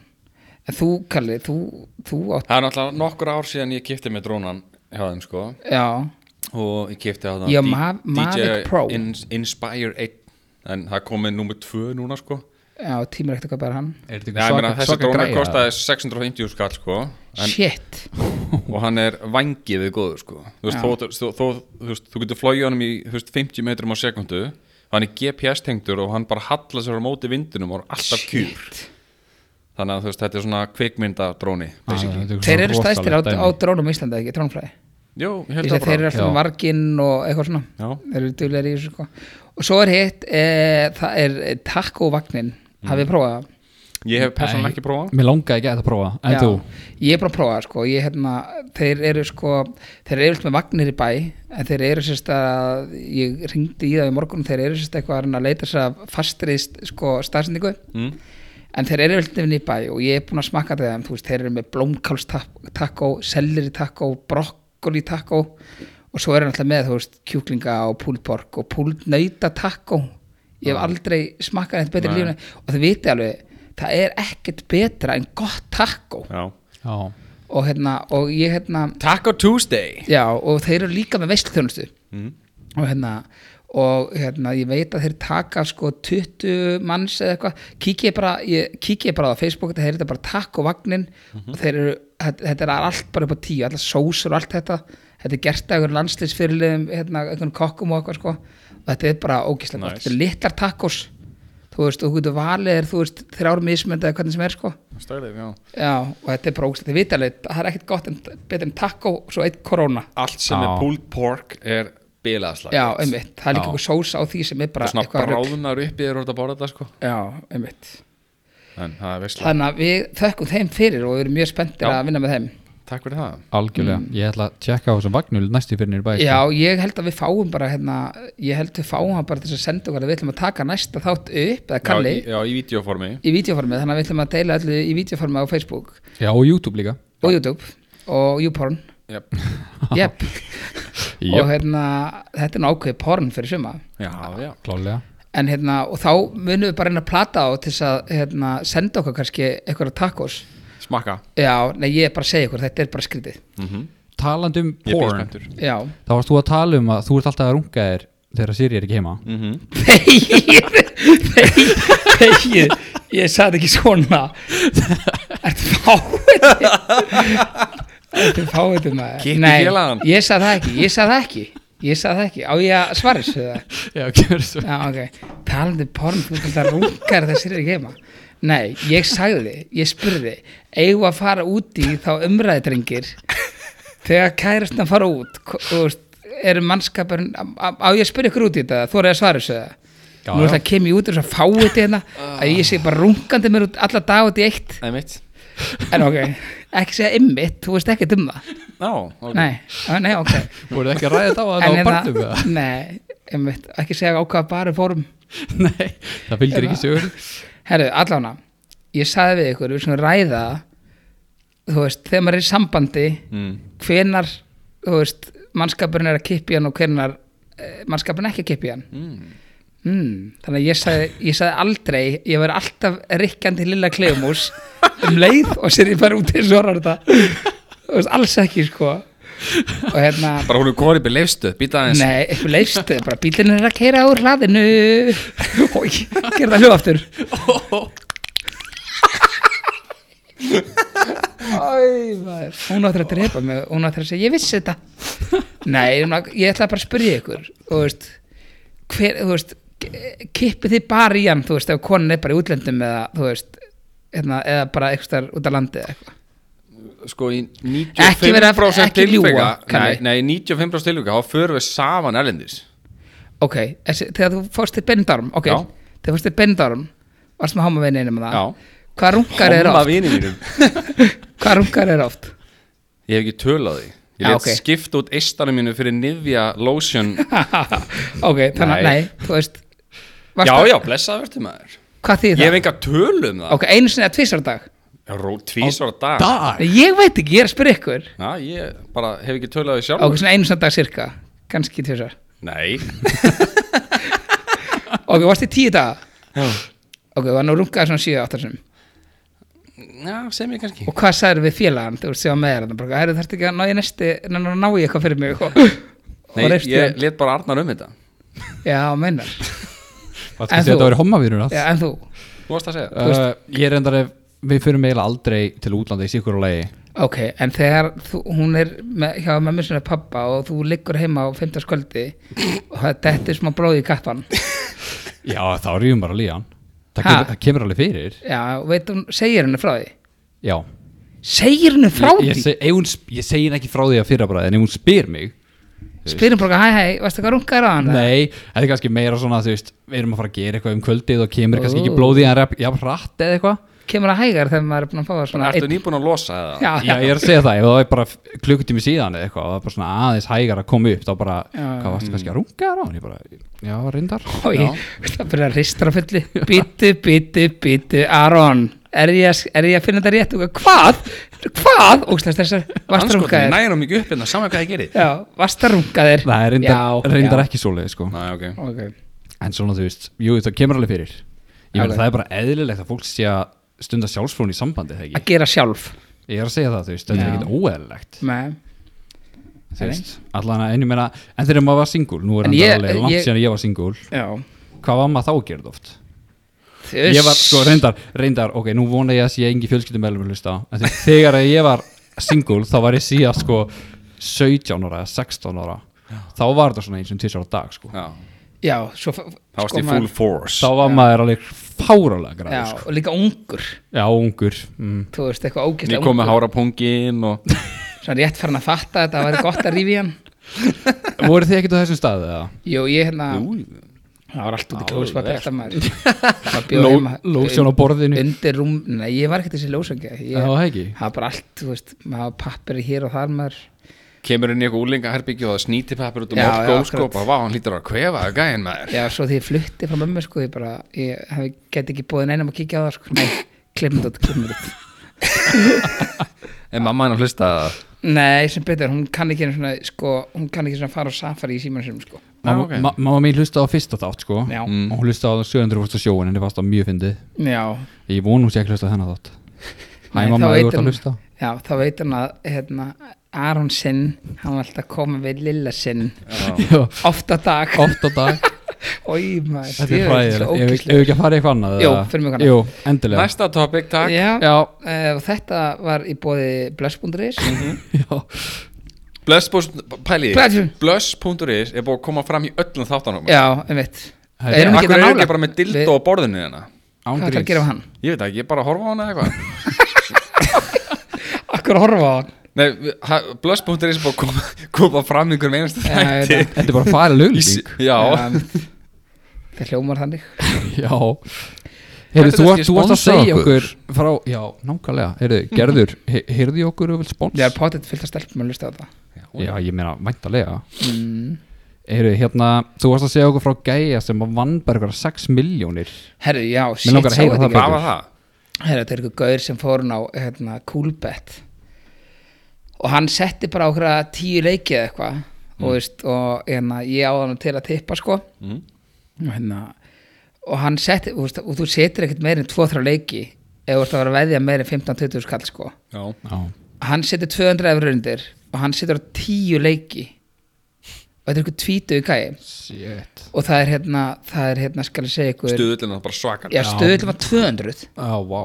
Speaker 3: en þú Kalli, þú, þú átt
Speaker 2: Það er náttúrulega nokkur ár síðan ég kipti með drónan hjá þeim, sko,
Speaker 3: já,
Speaker 2: og ég kipti á það
Speaker 3: Já, Ma- Mavic Pro.
Speaker 2: Ins Inspire 1, en það er komið númer 2 núna, sko.
Speaker 3: já tímur ekkert að kaupa þér hann
Speaker 1: er
Speaker 2: Já, ég meina,
Speaker 1: þetta
Speaker 2: þessi
Speaker 1: eitthvað
Speaker 2: dróna
Speaker 1: græja?
Speaker 2: kostaði 650 skall, sko, en,
Speaker 3: shit,
Speaker 2: og hann er vangið við góður, sko. Þú veist, þó, þó, þó, þú, veist, þú getur flogið honum í, þú veist, 50 metrum á sekundu, hann er GPS-tengdur og hann bara hallar sér á móti vindunum og er alltaf kjur.
Speaker 3: shit.
Speaker 2: Þannig að þú veist, þetta er svona kvikmynda dróni
Speaker 1: Ah, Já, þetta er eitthvað
Speaker 3: þeir
Speaker 1: svona
Speaker 3: eru stæðstir á,
Speaker 1: rosalegt dæmi.
Speaker 3: á drónum í Íslanda ekki, drónfræði
Speaker 2: Jú, ég held
Speaker 3: Ég sé
Speaker 2: það
Speaker 3: þeir eru
Speaker 2: bara
Speaker 3: alltaf
Speaker 1: já.
Speaker 3: varginn og eitthvað svona
Speaker 2: Já.
Speaker 3: þeir eru duglegar í þessu sko og svo er hitt, e, það er takkóvagnin, mm. hafið prófað það
Speaker 2: Ég hef persónulega
Speaker 1: Nei.
Speaker 2: ekki prófað
Speaker 1: Mér langaði ekki að þetta prófa, en
Speaker 3: Já,
Speaker 1: þú?
Speaker 3: Ég er bara að prófa sko, ég, hérna, þeir eru sko þeir eru yfirleitt með vagnir í bæ en þeir eru sérst að ég ringdi í það í morgun, þeir eru sérst eitthvað að reyna að leita sér að fastriðist sko staðsendingu
Speaker 2: mm.
Speaker 3: en þeir eru veldig nefnir í bæ og ég er búin að smakka þeim þú veist, þeir eru með blómkálstakó selleri takó, brokkoli takó og svo eru alltaf með þú veist, kjúklinga og púlpork og púlnauta takó ég hef aldrei smakkað neitt betur í
Speaker 2: Nei.
Speaker 3: lífuna og þið viti alveg, það er ekkert betra en gott takó
Speaker 2: já
Speaker 1: já,
Speaker 3: og hérna, og ég hérna
Speaker 2: Taco Tuesday
Speaker 3: Já, og þeir eru líka með veistluþjónustu
Speaker 2: mm.
Speaker 3: og hérna og hérna, ég veit að þeir taka sko 20 manns eða eitthvað kíkja ég bara, ég, kíkja ég bara á Facebook þetta er þetta bara takk og vagnin og þeir eru, þetta, þetta er allt bara upp á tíu allar sósur og allt þetta þetta er gert af einhverjum landsliðsfyrirliðum hérna, einhverjum kokkum og eitthvað sko og þetta er bara ógislega gott,
Speaker 2: Nice.
Speaker 3: þetta er litlar takkos þú veist, og þú getur valið er, þú veist, þrjár mismyndaði hvernig sem er sko
Speaker 2: Stærleif, já
Speaker 3: já, og þetta er bara ógislega, þið vitaleg það er ekkert gott en betur en takkó og svo eitt korona
Speaker 2: Allt sem
Speaker 1: Já.
Speaker 2: er pulled pork er bilaðslag
Speaker 3: Já, einmitt, það er líka
Speaker 1: Já.
Speaker 3: eitthvað sósa á því sem er bara
Speaker 2: Svona
Speaker 3: eitthvað rugl.
Speaker 2: bráðunar upp í þeir orða að borða þetta sko
Speaker 3: Já, einmitt
Speaker 2: En það er veistlega
Speaker 3: Þannig að við þökkum þeim fyrir og við erum mjög spenntir
Speaker 2: Já.
Speaker 3: að vinna með þeim
Speaker 2: Takk fyrir það
Speaker 1: algjörlega ég ætla að tjekka á þessum vagnul næstu fyrir nýr bæ
Speaker 3: Mm.
Speaker 1: sko.
Speaker 3: Já, ég held að við fáum bara hérna, ég held við fáum hann bara til þess að senda okkur að við ætlum að taka næsta þátt upp eða kalli
Speaker 2: Já, í, já, í vídeoformi
Speaker 3: í videoformið, þannig að við ætlum að deila allu í videoformið á Facebook
Speaker 1: já og YouTube líka
Speaker 3: og YouTube og YouPorn
Speaker 2: yep.
Speaker 3: Jep, og
Speaker 1: Jöp,
Speaker 3: hérna þetta er nákvæði porn fyrir suma
Speaker 2: Já, já
Speaker 1: klálega
Speaker 3: en hérna, og þá munum við bara reyna að plata á til þess að hérna, senda okkur kannski eitthvað tacos
Speaker 2: Smakka
Speaker 3: Já, nei, ég er bara að segja ykkur, þetta er bara skrítið
Speaker 2: mm -hmm.
Speaker 1: talandi um
Speaker 2: Ég býð
Speaker 1: porn
Speaker 2: spenntur
Speaker 3: Já
Speaker 1: þá varst þú að tala um að þú ert alltaf að runga þér þegar Siri er ekki heima
Speaker 2: mm
Speaker 3: Þegið, þegið, þegið Ég sagði ekki svona Ertu fáið Ertu fáið maður
Speaker 2: Kikki
Speaker 3: Nei,
Speaker 2: félagann.
Speaker 3: Ég sagði það ekki, ég sagði það ekki Ég sagði það ekki, á ég að svara þessu það
Speaker 1: já, gerðu svo
Speaker 3: Já, ok, talandi um porn þú kallt að rungar þessir er ekki heima Nei, ég sagði, ég spurði eigum við að fara út í þá umræðdrengir þegar kærastan fara út hvo- þú veist, eru mannskapurinn á á- á ég að spyrja ykkur út í þetta, þú er að svara þessu það
Speaker 1: Já,
Speaker 3: Nú
Speaker 1: já.
Speaker 3: ætla að kem ég út og svo fáið þetta hérna að ég sé bara rungandi mér út alla dag út í eitt
Speaker 2: Einmitt
Speaker 3: en ok, ekki segja ymmit, þú veist ekki um það
Speaker 2: Já, ok
Speaker 3: Nei, á, nei, ok
Speaker 1: voruð ekki að ræða þetta á að það
Speaker 3: En
Speaker 1: á
Speaker 3: hérna-
Speaker 1: barnum eða?
Speaker 3: Nei, ymmit, ekki segja á hvað bara fórum
Speaker 1: nei, það fylgir ekki sögur
Speaker 3: Herru, allána, ég sagði við ykkur, við svona ræða, þú veist, þegar maður er í sambandi,
Speaker 2: mm.
Speaker 3: hvenar, þú veist, mannskapurinn er að kippa í hann og hvenar eh, mannskapurinn er ekki að kippa í hann.
Speaker 2: Mm.
Speaker 3: Mm, þannig að ég sagði, ég sagði aldrei, ég verði alltaf rikkandi lilla kleumús um leið og sér ég bara út í svona þetta. Þú veist, alls ekki, sko. Og hérna,
Speaker 2: Bara hún er korið byrð leifstu Býta aðeins
Speaker 3: nei, eitthvað leifst, bara bílinn er að keira úr hlaðinu. Og ég gerði það hljóð aftur. Æ, maður, hún áttur að drepa mig hún áttur að segja, ég vissi þetta nei, hún á- ég ætla bara að spyrja ykkur þú veist, hver, þú veist k- kippið þið bara í hann þú veist, ef konan er bara í útlöndum eða, þú veist, hérna, eða bara eitthvað út af landi eða eitthvað
Speaker 2: Sko í
Speaker 3: Ekki vera-
Speaker 2: 95%
Speaker 3: ekki ljúga,
Speaker 2: tilvika
Speaker 3: Kalli.
Speaker 2: Nei, nei, 95% tilvika Þá förum við saman erlendis
Speaker 3: ok, þessi, þegar þú fórst til Bendarm ok,
Speaker 2: Já.
Speaker 3: þegar fórst til Bendarm varst með hámavinninum með
Speaker 2: Já.
Speaker 3: það hvað rungar er oft?
Speaker 2: vinið mínum
Speaker 3: hvað rungar er oft?
Speaker 2: Ég hef ekki töl á því Ég
Speaker 3: Já,
Speaker 2: let
Speaker 3: ok.
Speaker 2: skipta út eistanum mínu fyrir Nivea lotion
Speaker 3: ok,
Speaker 2: Nei.
Speaker 3: þannig að, nei, þú veist varstu-
Speaker 2: Já, já, blessað verður maður
Speaker 3: hvað þýð
Speaker 2: Ég hef
Speaker 3: það?
Speaker 2: enga töl um það
Speaker 3: ok, einu sinni að tvisar dag
Speaker 2: okay. Tvísvara dag
Speaker 1: dag
Speaker 3: ég veit ekki, ég er að spyrja ykkur
Speaker 2: Já, ég bara hef ekki töl á því sjálf
Speaker 3: Ok, svona einu samt dag cirka, kannski tvisar
Speaker 2: Nei
Speaker 3: Ok, varst í tíu daga
Speaker 2: Já.
Speaker 3: Ok, var nú rungaði svona 7-8 sem
Speaker 2: Já, sem ég kannski
Speaker 3: Og hvað sagður við félagann, þú veist, sem var með þér þarna, bara, Herru, þarftu ekki að ná ég næsti, ná, ná, ná ég eitthvað fyrir mig og, og
Speaker 2: Nei,
Speaker 3: reifst
Speaker 2: ég
Speaker 3: ég
Speaker 2: let bara Arnar um þetta
Speaker 3: Já, meinar,
Speaker 1: Varstu að
Speaker 3: En
Speaker 1: segja
Speaker 3: þú?
Speaker 1: þetta verið hommavinur allt?
Speaker 3: já, en þú
Speaker 2: Þú varst að segja
Speaker 1: uh, ég er endar ef við fyrum eiginlega aldrei til útlanda í sikur og lagi
Speaker 3: Ok, en þegar þú, hún er með, hjá mömmu sinni og pappa og þú liggur heima á 15. skvöldi og það dettir smá blóð í kattan
Speaker 1: já þá er ég um bara líðan það
Speaker 3: Ha?
Speaker 1: kemur, það kemur alveg fyrir
Speaker 3: Já, og veit hún, segir henni frá því
Speaker 1: já
Speaker 3: Segir henni frá
Speaker 1: ég, ég,
Speaker 3: því?
Speaker 1: seg, ef hún, sp- ég segi henni ekki frá því að fyrra bara en ef hún spyr mig
Speaker 3: Spyrum bara, hæ, hæ, varstu eitthvað rungaður á hann?
Speaker 1: Nei, þetta er kannski meira svona þú veist, við erum að fara að gera eitthvað um kvöldið og kemur kannski
Speaker 3: Ó.
Speaker 1: ekki blóðið en jafn hratt eða eitthvað
Speaker 3: kemur að hægar þegar maður er búin að fá það svona
Speaker 2: Ertu
Speaker 3: einn-
Speaker 2: nýbúin að losa það?
Speaker 3: Ah, já,
Speaker 1: Já, ég er að segja það, ef það er bara klukkutími síðan eða eitthvað, og það er bara svona aðeins hægar að koma upp þá bara,
Speaker 3: Já,
Speaker 1: hvað varstu kannski að runga þér á hann ég bara, já, reyndar
Speaker 3: og ég, það byrja að ristra fulli bítu, bítu, bítu, Aron er ég, að- er ég að finna þetta rétt og hvað, hvað, ógstast þessar
Speaker 2: Anskotin,
Speaker 3: vastarungaðir,
Speaker 2: nærum ekki upp hérna, saman hvað ég gerir
Speaker 3: já, vastarungaðir
Speaker 1: það er reyndar, reyndar ekki svoleið sko.
Speaker 2: Næ, ok
Speaker 3: ok,
Speaker 1: en svona þú veist, jú, það kemur alveg fyrir ég meina
Speaker 3: Alveg.
Speaker 1: það er bara eðlilegt að fólk sé að stunda sjálfsfrón í sambandi þegar
Speaker 3: að gera sjálf
Speaker 1: ekki ég er að segja það, þú veist, þetta er
Speaker 3: Já.
Speaker 1: ekkert óeðlilegt
Speaker 3: með
Speaker 1: þú veist, allan að ennum meina en þegar maður var singul, nú er
Speaker 3: En
Speaker 1: hann
Speaker 3: ég-
Speaker 1: alveg langt
Speaker 3: ég-
Speaker 1: síðan ég var singul
Speaker 3: Já,
Speaker 1: hvað var maður þá gerð oft? ég var sko reyndar, reyndar ok, nú vona ég að sé engi fjölskyldumælum hlusta, á, en þegar, þegar að ég var singul þá var ég síðan sko 17 ára eða 16 ára þá var þetta svona eins og tísar á dag sko.
Speaker 2: Já,
Speaker 3: Já, svo f-
Speaker 2: þá varst í
Speaker 3: sko,
Speaker 2: full
Speaker 3: maður-
Speaker 2: force
Speaker 1: þá var maður alveg fáralega
Speaker 3: Já,
Speaker 1: græður sko.
Speaker 3: og líka ungur
Speaker 1: já, ungur mm.
Speaker 3: Þú veist, eitthvað ógæslega
Speaker 2: Ég kom með hára pungin og
Speaker 3: Svona rétt farin að fatta að þetta væri gott að rífi hann
Speaker 1: voru þið ekkert á þessum staði eða?
Speaker 3: Jú, ég hérna
Speaker 2: Jú.
Speaker 3: Það var allt út í
Speaker 2: Já,
Speaker 3: klóspa
Speaker 2: vel.
Speaker 3: besta maður Maður bjó
Speaker 1: Ló,
Speaker 3: heima-
Speaker 1: lósjón á borðinu já,
Speaker 3: Undir rúm, nei, ég var ekkert þessi lósöngi
Speaker 1: það
Speaker 3: Ég
Speaker 1: var ekki
Speaker 3: hafa bara allt, þú veist Maður hafa pappir hér og þar maður
Speaker 2: kemur inn í eitthvað úlingaherbyggju og það snýti pappir út um
Speaker 3: Já,
Speaker 2: allt
Speaker 3: já,
Speaker 2: góðskóp og vá, hann lítur að kvefa að gæðin maður
Speaker 3: Já, svo því ég flutti frá mömmu, sko Ég bara, ég hef get ekki bóðin einum að kíkja á það, sko Nei, klippum þetta, klippum þetta
Speaker 2: En mamma hann að hlusta það
Speaker 3: Nei, sem betur, hún kann ekki einu svona, sko, hún kann ekki svona fara á safari í símanum sinum, sko.
Speaker 1: mamma,
Speaker 2: ok.
Speaker 1: ma mamma mín hlustaði á fyrsta þátt sko.
Speaker 3: Já.
Speaker 1: og hún hlustaði á 700 sjóin en það varst á mjög fyndið
Speaker 3: Já,
Speaker 1: ég vonum sé ekki hlusta þennan þátt hæ
Speaker 3: Nei,
Speaker 1: mamma,
Speaker 3: þá
Speaker 1: þú
Speaker 3: veit
Speaker 1: ert að
Speaker 3: hún-
Speaker 1: hlusta
Speaker 3: já, þá veit hún að, hérna, Aron sinn, hann var alltaf að koma við Lilla sinn,
Speaker 1: Já,
Speaker 3: oft á dag.
Speaker 1: oft á dag
Speaker 3: Ói, maður,
Speaker 1: Þetta er
Speaker 3: djöfull, svo
Speaker 1: hræðilegt, ef
Speaker 3: ógeðslega.
Speaker 1: við ekki að fara í eitthvað annað
Speaker 3: Jú,
Speaker 1: eða-
Speaker 3: förum í eitthvað annað.
Speaker 1: Jú, endilega
Speaker 2: Næsta topic, takk
Speaker 3: Já,
Speaker 1: Já,
Speaker 3: eh, og þetta var í bóði blöss.is.
Speaker 1: já,
Speaker 2: Blöss.is
Speaker 3: Blöss.
Speaker 2: Blöss.is er búið að koma fram í öllum þáttanum
Speaker 3: Já, einmitt.
Speaker 1: Herri,
Speaker 3: Erum
Speaker 2: Akkur er
Speaker 3: það
Speaker 2: ekki
Speaker 3: nálægt?
Speaker 2: bara með
Speaker 3: Við-
Speaker 2: dildo á borðinu þarna
Speaker 1: án
Speaker 3: Hvað ætlar að
Speaker 1: gríns
Speaker 3: gera um hann?
Speaker 2: Ég veit ekki, ég er bara að horfa á hana eða eitthvað
Speaker 3: Akkur að horfa á hann?
Speaker 2: Nei, við- ha- blöss.is er búið að koma, koma fram í einhverjum einasta
Speaker 3: Já, ég
Speaker 2: þætti
Speaker 3: veit
Speaker 1: Þetta er bara að fara lögling
Speaker 2: Í- Já,
Speaker 3: Já, einmitt. Það hljómar þannig.
Speaker 1: Já Heyrðu,
Speaker 2: Þetta
Speaker 1: þú
Speaker 2: er
Speaker 1: ert-
Speaker 2: kannski
Speaker 1: þú varst að
Speaker 2: sponsa
Speaker 1: segja
Speaker 2: okkur.
Speaker 1: okkur frá, já, nákvæmlega, heyrðu, gerður he- heyrðu í okkur og vil spons?
Speaker 3: Ég er potið fyllt að stelpum að hlusta á þetta.
Speaker 1: Já, ég meina, væntalega
Speaker 3: Mm.
Speaker 1: Heyrðu, hérna, þú varst að segja okkur frá gæja sem að vann bara ykkur 6 miljónir
Speaker 3: Herru, já, shit,
Speaker 1: langar að
Speaker 3: sá
Speaker 1: heyra það
Speaker 3: þetta ekki.
Speaker 1: bara.
Speaker 2: hvað var það?
Speaker 3: Herra, þetta er eitthvað gaur sem fór hann á hérna, Coolbet og hann setti bara okkur að tíu leiki eða eitthvað og, veist, og hérna, ég áða hann til að tippa sko
Speaker 2: Mm.
Speaker 3: og, hérna, og hann setti og, veist, og þú setir ekkert meir en 2-3 leiki ef þú ert að vera að veðja meir en 15-20 skall sko
Speaker 2: Já,
Speaker 1: Já,
Speaker 3: hann setur 200 efur undir og hann setur á tíu leiki og þetta er eitthvað tvítu í gæi
Speaker 1: shit
Speaker 3: og það er hérna, það er hérna skal ég segja ykkur
Speaker 2: stuðullina bara svakar
Speaker 3: já, stöðullum var 200
Speaker 1: Já, vá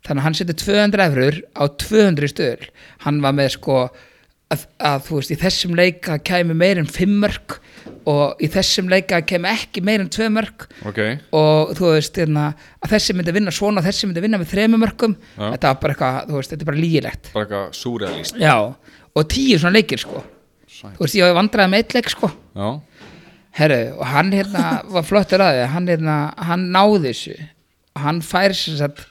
Speaker 3: þannig að hann setur 200 efrur á 200 stöðl hann var með sko að, að þú veist í þessum leika kæmi meir en 5 mörg og í þessum leika kæmi ekki meir en 2 mörg
Speaker 2: Ok,
Speaker 3: og þú veist hérna, að þessi myndi vinna svona og þessi myndi vinna með 3 mörgum
Speaker 2: Já.
Speaker 3: þetta var bara eitthvað, þú veist, þetta er bara lígilegt
Speaker 2: bara eitthvað súrealist
Speaker 3: já, og tíu svona leikir sko þú veist, ég vandraði með eitt leik sko
Speaker 2: Já,
Speaker 3: Herru, og hann hérna var flottur að því, hann hérna, hann náði þessu, hann fær sem sagt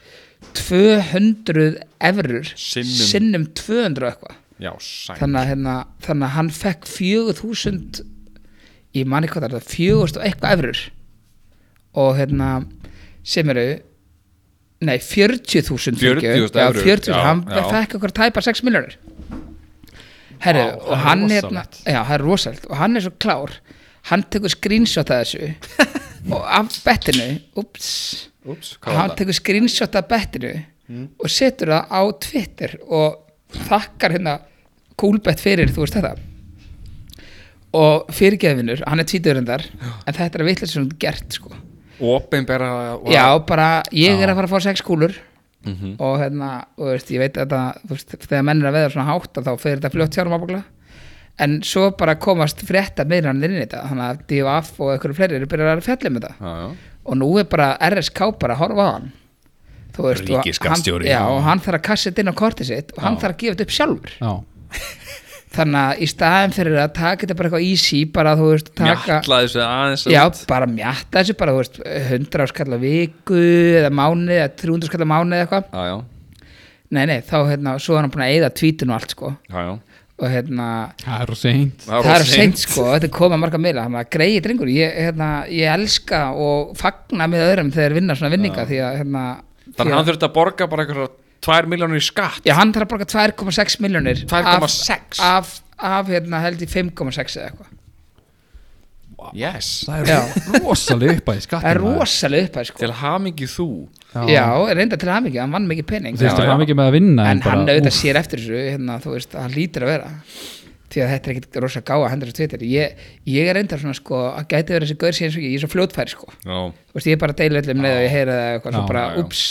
Speaker 3: 200 evrur,
Speaker 2: Sinnum.
Speaker 3: 200 og eitthvað,
Speaker 2: já, sæk
Speaker 3: þannig að hérna, þannig að hann fekk 4000, ég manni hvað það er það, 4000 og eitthvað evrur og hérna, sem eru, nei 40.000
Speaker 2: 40.000
Speaker 3: já,
Speaker 2: evrur,
Speaker 3: 40.000,
Speaker 2: já,
Speaker 3: hann
Speaker 2: já.
Speaker 3: fekk okkur tæpa 6 miljonir Herru,
Speaker 1: Vá, það
Speaker 3: og
Speaker 1: er
Speaker 3: hann
Speaker 1: rosalegt.
Speaker 3: hérna, já, það er rosalegt og hann er svo klár, hann tekur screenshot af þessu og af bettinu, ups
Speaker 2: Úps, hvað var
Speaker 3: hann
Speaker 2: það? Mm.
Speaker 3: tekur screenshot af bettinu og setur það á Twitter og þakkar hérna kúlbett fyrir, þú veist þetta og fyrirgeðvinur hann er tvíturundar, en þetta er að vitlega sem hann gert, sko,
Speaker 2: Opinbera
Speaker 3: já, bara ég er að fara að fá sex kúlur
Speaker 2: Mhm.
Speaker 3: og hérna, og veist, ég veit að það þú veist, þegar menn er að veða svona hátt að þá fyrir þetta fljótt sjálfum ábúkla en svo bara komast frétta meira hann inn í þetta þannig að DFF og einhverju fleiri eru byrjar að fjalla um þetta
Speaker 2: Já, já.
Speaker 3: og nú er bara RSK bara að horfa á hann Þú veist, og hann-
Speaker 2: Ríkisskattstjóri.
Speaker 3: já, og hann þarf að kassa þetta inn á kortið sitt og hann þarf að gefa þetta upp sjálfur
Speaker 1: Já,
Speaker 3: þannig að í staðin fyrir að taka þetta bara eitthvað easy bara þú veist taka
Speaker 2: mjalla þessu aðeins um-
Speaker 3: já,
Speaker 2: út.
Speaker 3: bara mjatta þessu bara þú veist 100 áskall á viku eða mánuð eða 300 áskall á mánuð eða eitthvað
Speaker 2: já, já,
Speaker 3: nei, nei, þá hérna, svo er hann búin að eyða tvítinu og allt sko
Speaker 2: já, já.
Speaker 3: og hérna
Speaker 1: Það er seint
Speaker 3: það er seint sko, þetta er komið að marga meila þannig að greiði drengur, ég, hérna, ég elska og fagna með öðrum þegar þeir vinna svona vinninga því að hérna
Speaker 2: þannig
Speaker 3: því
Speaker 2: að
Speaker 3: að-
Speaker 2: hann þurfti að borga bara eitthvað 2 miljónur í skatt
Speaker 3: Já, hann þarf að borga 2,6 miljónir
Speaker 2: 2,6?
Speaker 3: af, af, af hérna held ég 5,6 eða eitthvað
Speaker 2: yes.
Speaker 1: Það
Speaker 3: Já.
Speaker 1: er rosalega uppæði skattum
Speaker 3: Það er rosalega upphæð sko
Speaker 2: til hamingi þú
Speaker 3: Já, reynda til hann ekki, hann vann mikið pening
Speaker 1: Þú veist,
Speaker 2: Já,
Speaker 1: það er mikið með að vinna
Speaker 3: En
Speaker 1: bara,
Speaker 3: hann auðvitað
Speaker 1: úff,
Speaker 3: sér eftir þessu hérna, þú veist, hann lítur að vera því að þetta er ekkit rosa gáa hendur þessu tvittir ég, ég er reyndar svona sko að gæti verið þessi gaur sér eins og ég, ég er svo fljótfæri sko
Speaker 2: já,
Speaker 3: þú veist, ég er bara að deila öllum leið og ég heyra það eitthvað, svo
Speaker 1: Já,
Speaker 3: bara,
Speaker 2: já, já.
Speaker 3: ups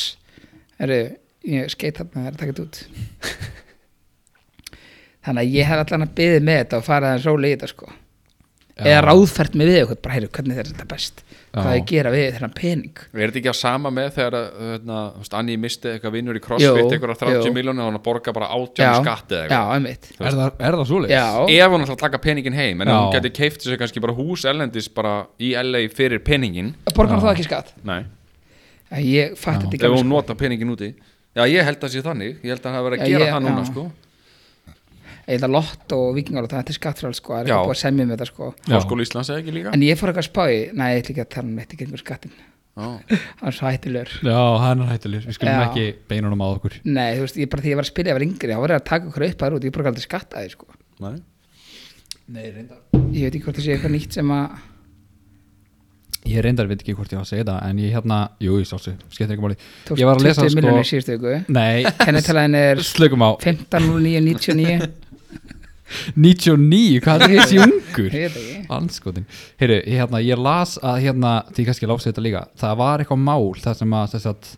Speaker 3: heru, ég skeit þarna, það er að taka þetta út þannig að ég hef allan að byðið með þetta og farið aðeins róli í þetta sko
Speaker 1: Já.
Speaker 3: eða ráðfært mig við eitthvað, bara heyrðu, hvernig er þetta best hvað
Speaker 1: Já.
Speaker 3: ég gera við þennan pening
Speaker 2: er þetta ekki að sama með þegar að, hérna, þú veist, Anni misti eitthvað vinnur í crossfit
Speaker 3: Jú,
Speaker 2: eitthvað 30
Speaker 3: jú.
Speaker 2: miljónir og hann að borga bara 18 í
Speaker 3: já,
Speaker 2: skatt eða
Speaker 3: já,
Speaker 2: eitthvað
Speaker 3: einmitt
Speaker 1: Er það, er það svoleiðis?
Speaker 3: já,
Speaker 2: ef hann ætla að taka peningin heim en
Speaker 1: Já.
Speaker 2: hann geti keift þessu kannski bara hús ellendis bara í LA fyrir peningin
Speaker 3: borgar þá ekki skatt
Speaker 2: nei,
Speaker 3: Æ, ég fatt
Speaker 1: Já.
Speaker 3: þetta
Speaker 2: ef
Speaker 3: ekki alveg, sko.
Speaker 2: hún nota peningin úti já, ég held að sé þannig, ég held að hann hafa verið að
Speaker 3: Já,
Speaker 2: gera
Speaker 3: ég-
Speaker 2: það núna
Speaker 3: já.
Speaker 2: sko
Speaker 3: sko. eða lott og vikingar og það þetta er skatt frá sko, það er
Speaker 2: Já.
Speaker 3: eitthvað búið að semja með þetta sko
Speaker 1: Já.
Speaker 2: háskóla Íslands eða ekki líka
Speaker 3: en ég fór eitthvað að spá í, nei, ég ætla ekki að tala um eitt ekki einhver skattin,
Speaker 2: já,
Speaker 3: hann er svo hættulegur
Speaker 1: Já, hann er hættulegur, við skulum
Speaker 3: Já.
Speaker 1: ekki beinunum á okkur
Speaker 3: Nei, þú veist, ég bara því ég var að spila, ég var yngri, þá var ég að taka okkur upp að út, ég bara aldrei skatta því, sko.
Speaker 2: nei
Speaker 1: Nei, reyndar
Speaker 3: Ég veit ekki hvort það sé eitthvað nýtt sem að,
Speaker 1: Ég reyndar veit ekki hvort ég á að segja það En ég hérna, jú, ég sástu, skemmt ekki máli
Speaker 3: tókst
Speaker 1: Ég var að lesa
Speaker 3: 20
Speaker 1: sko
Speaker 3: miljonir síðustu viku.
Speaker 1: Nei,
Speaker 3: Kennetalæðin er
Speaker 1: slökum á
Speaker 3: 15.09.99,
Speaker 1: 99, hvað er þessi ungur?
Speaker 3: ég veit ekki.
Speaker 1: Anskotin Heyru, ég, hérna, ég las að hérna, því kannski lási þetta líka Það var eitthvað mál þar sem að, sem að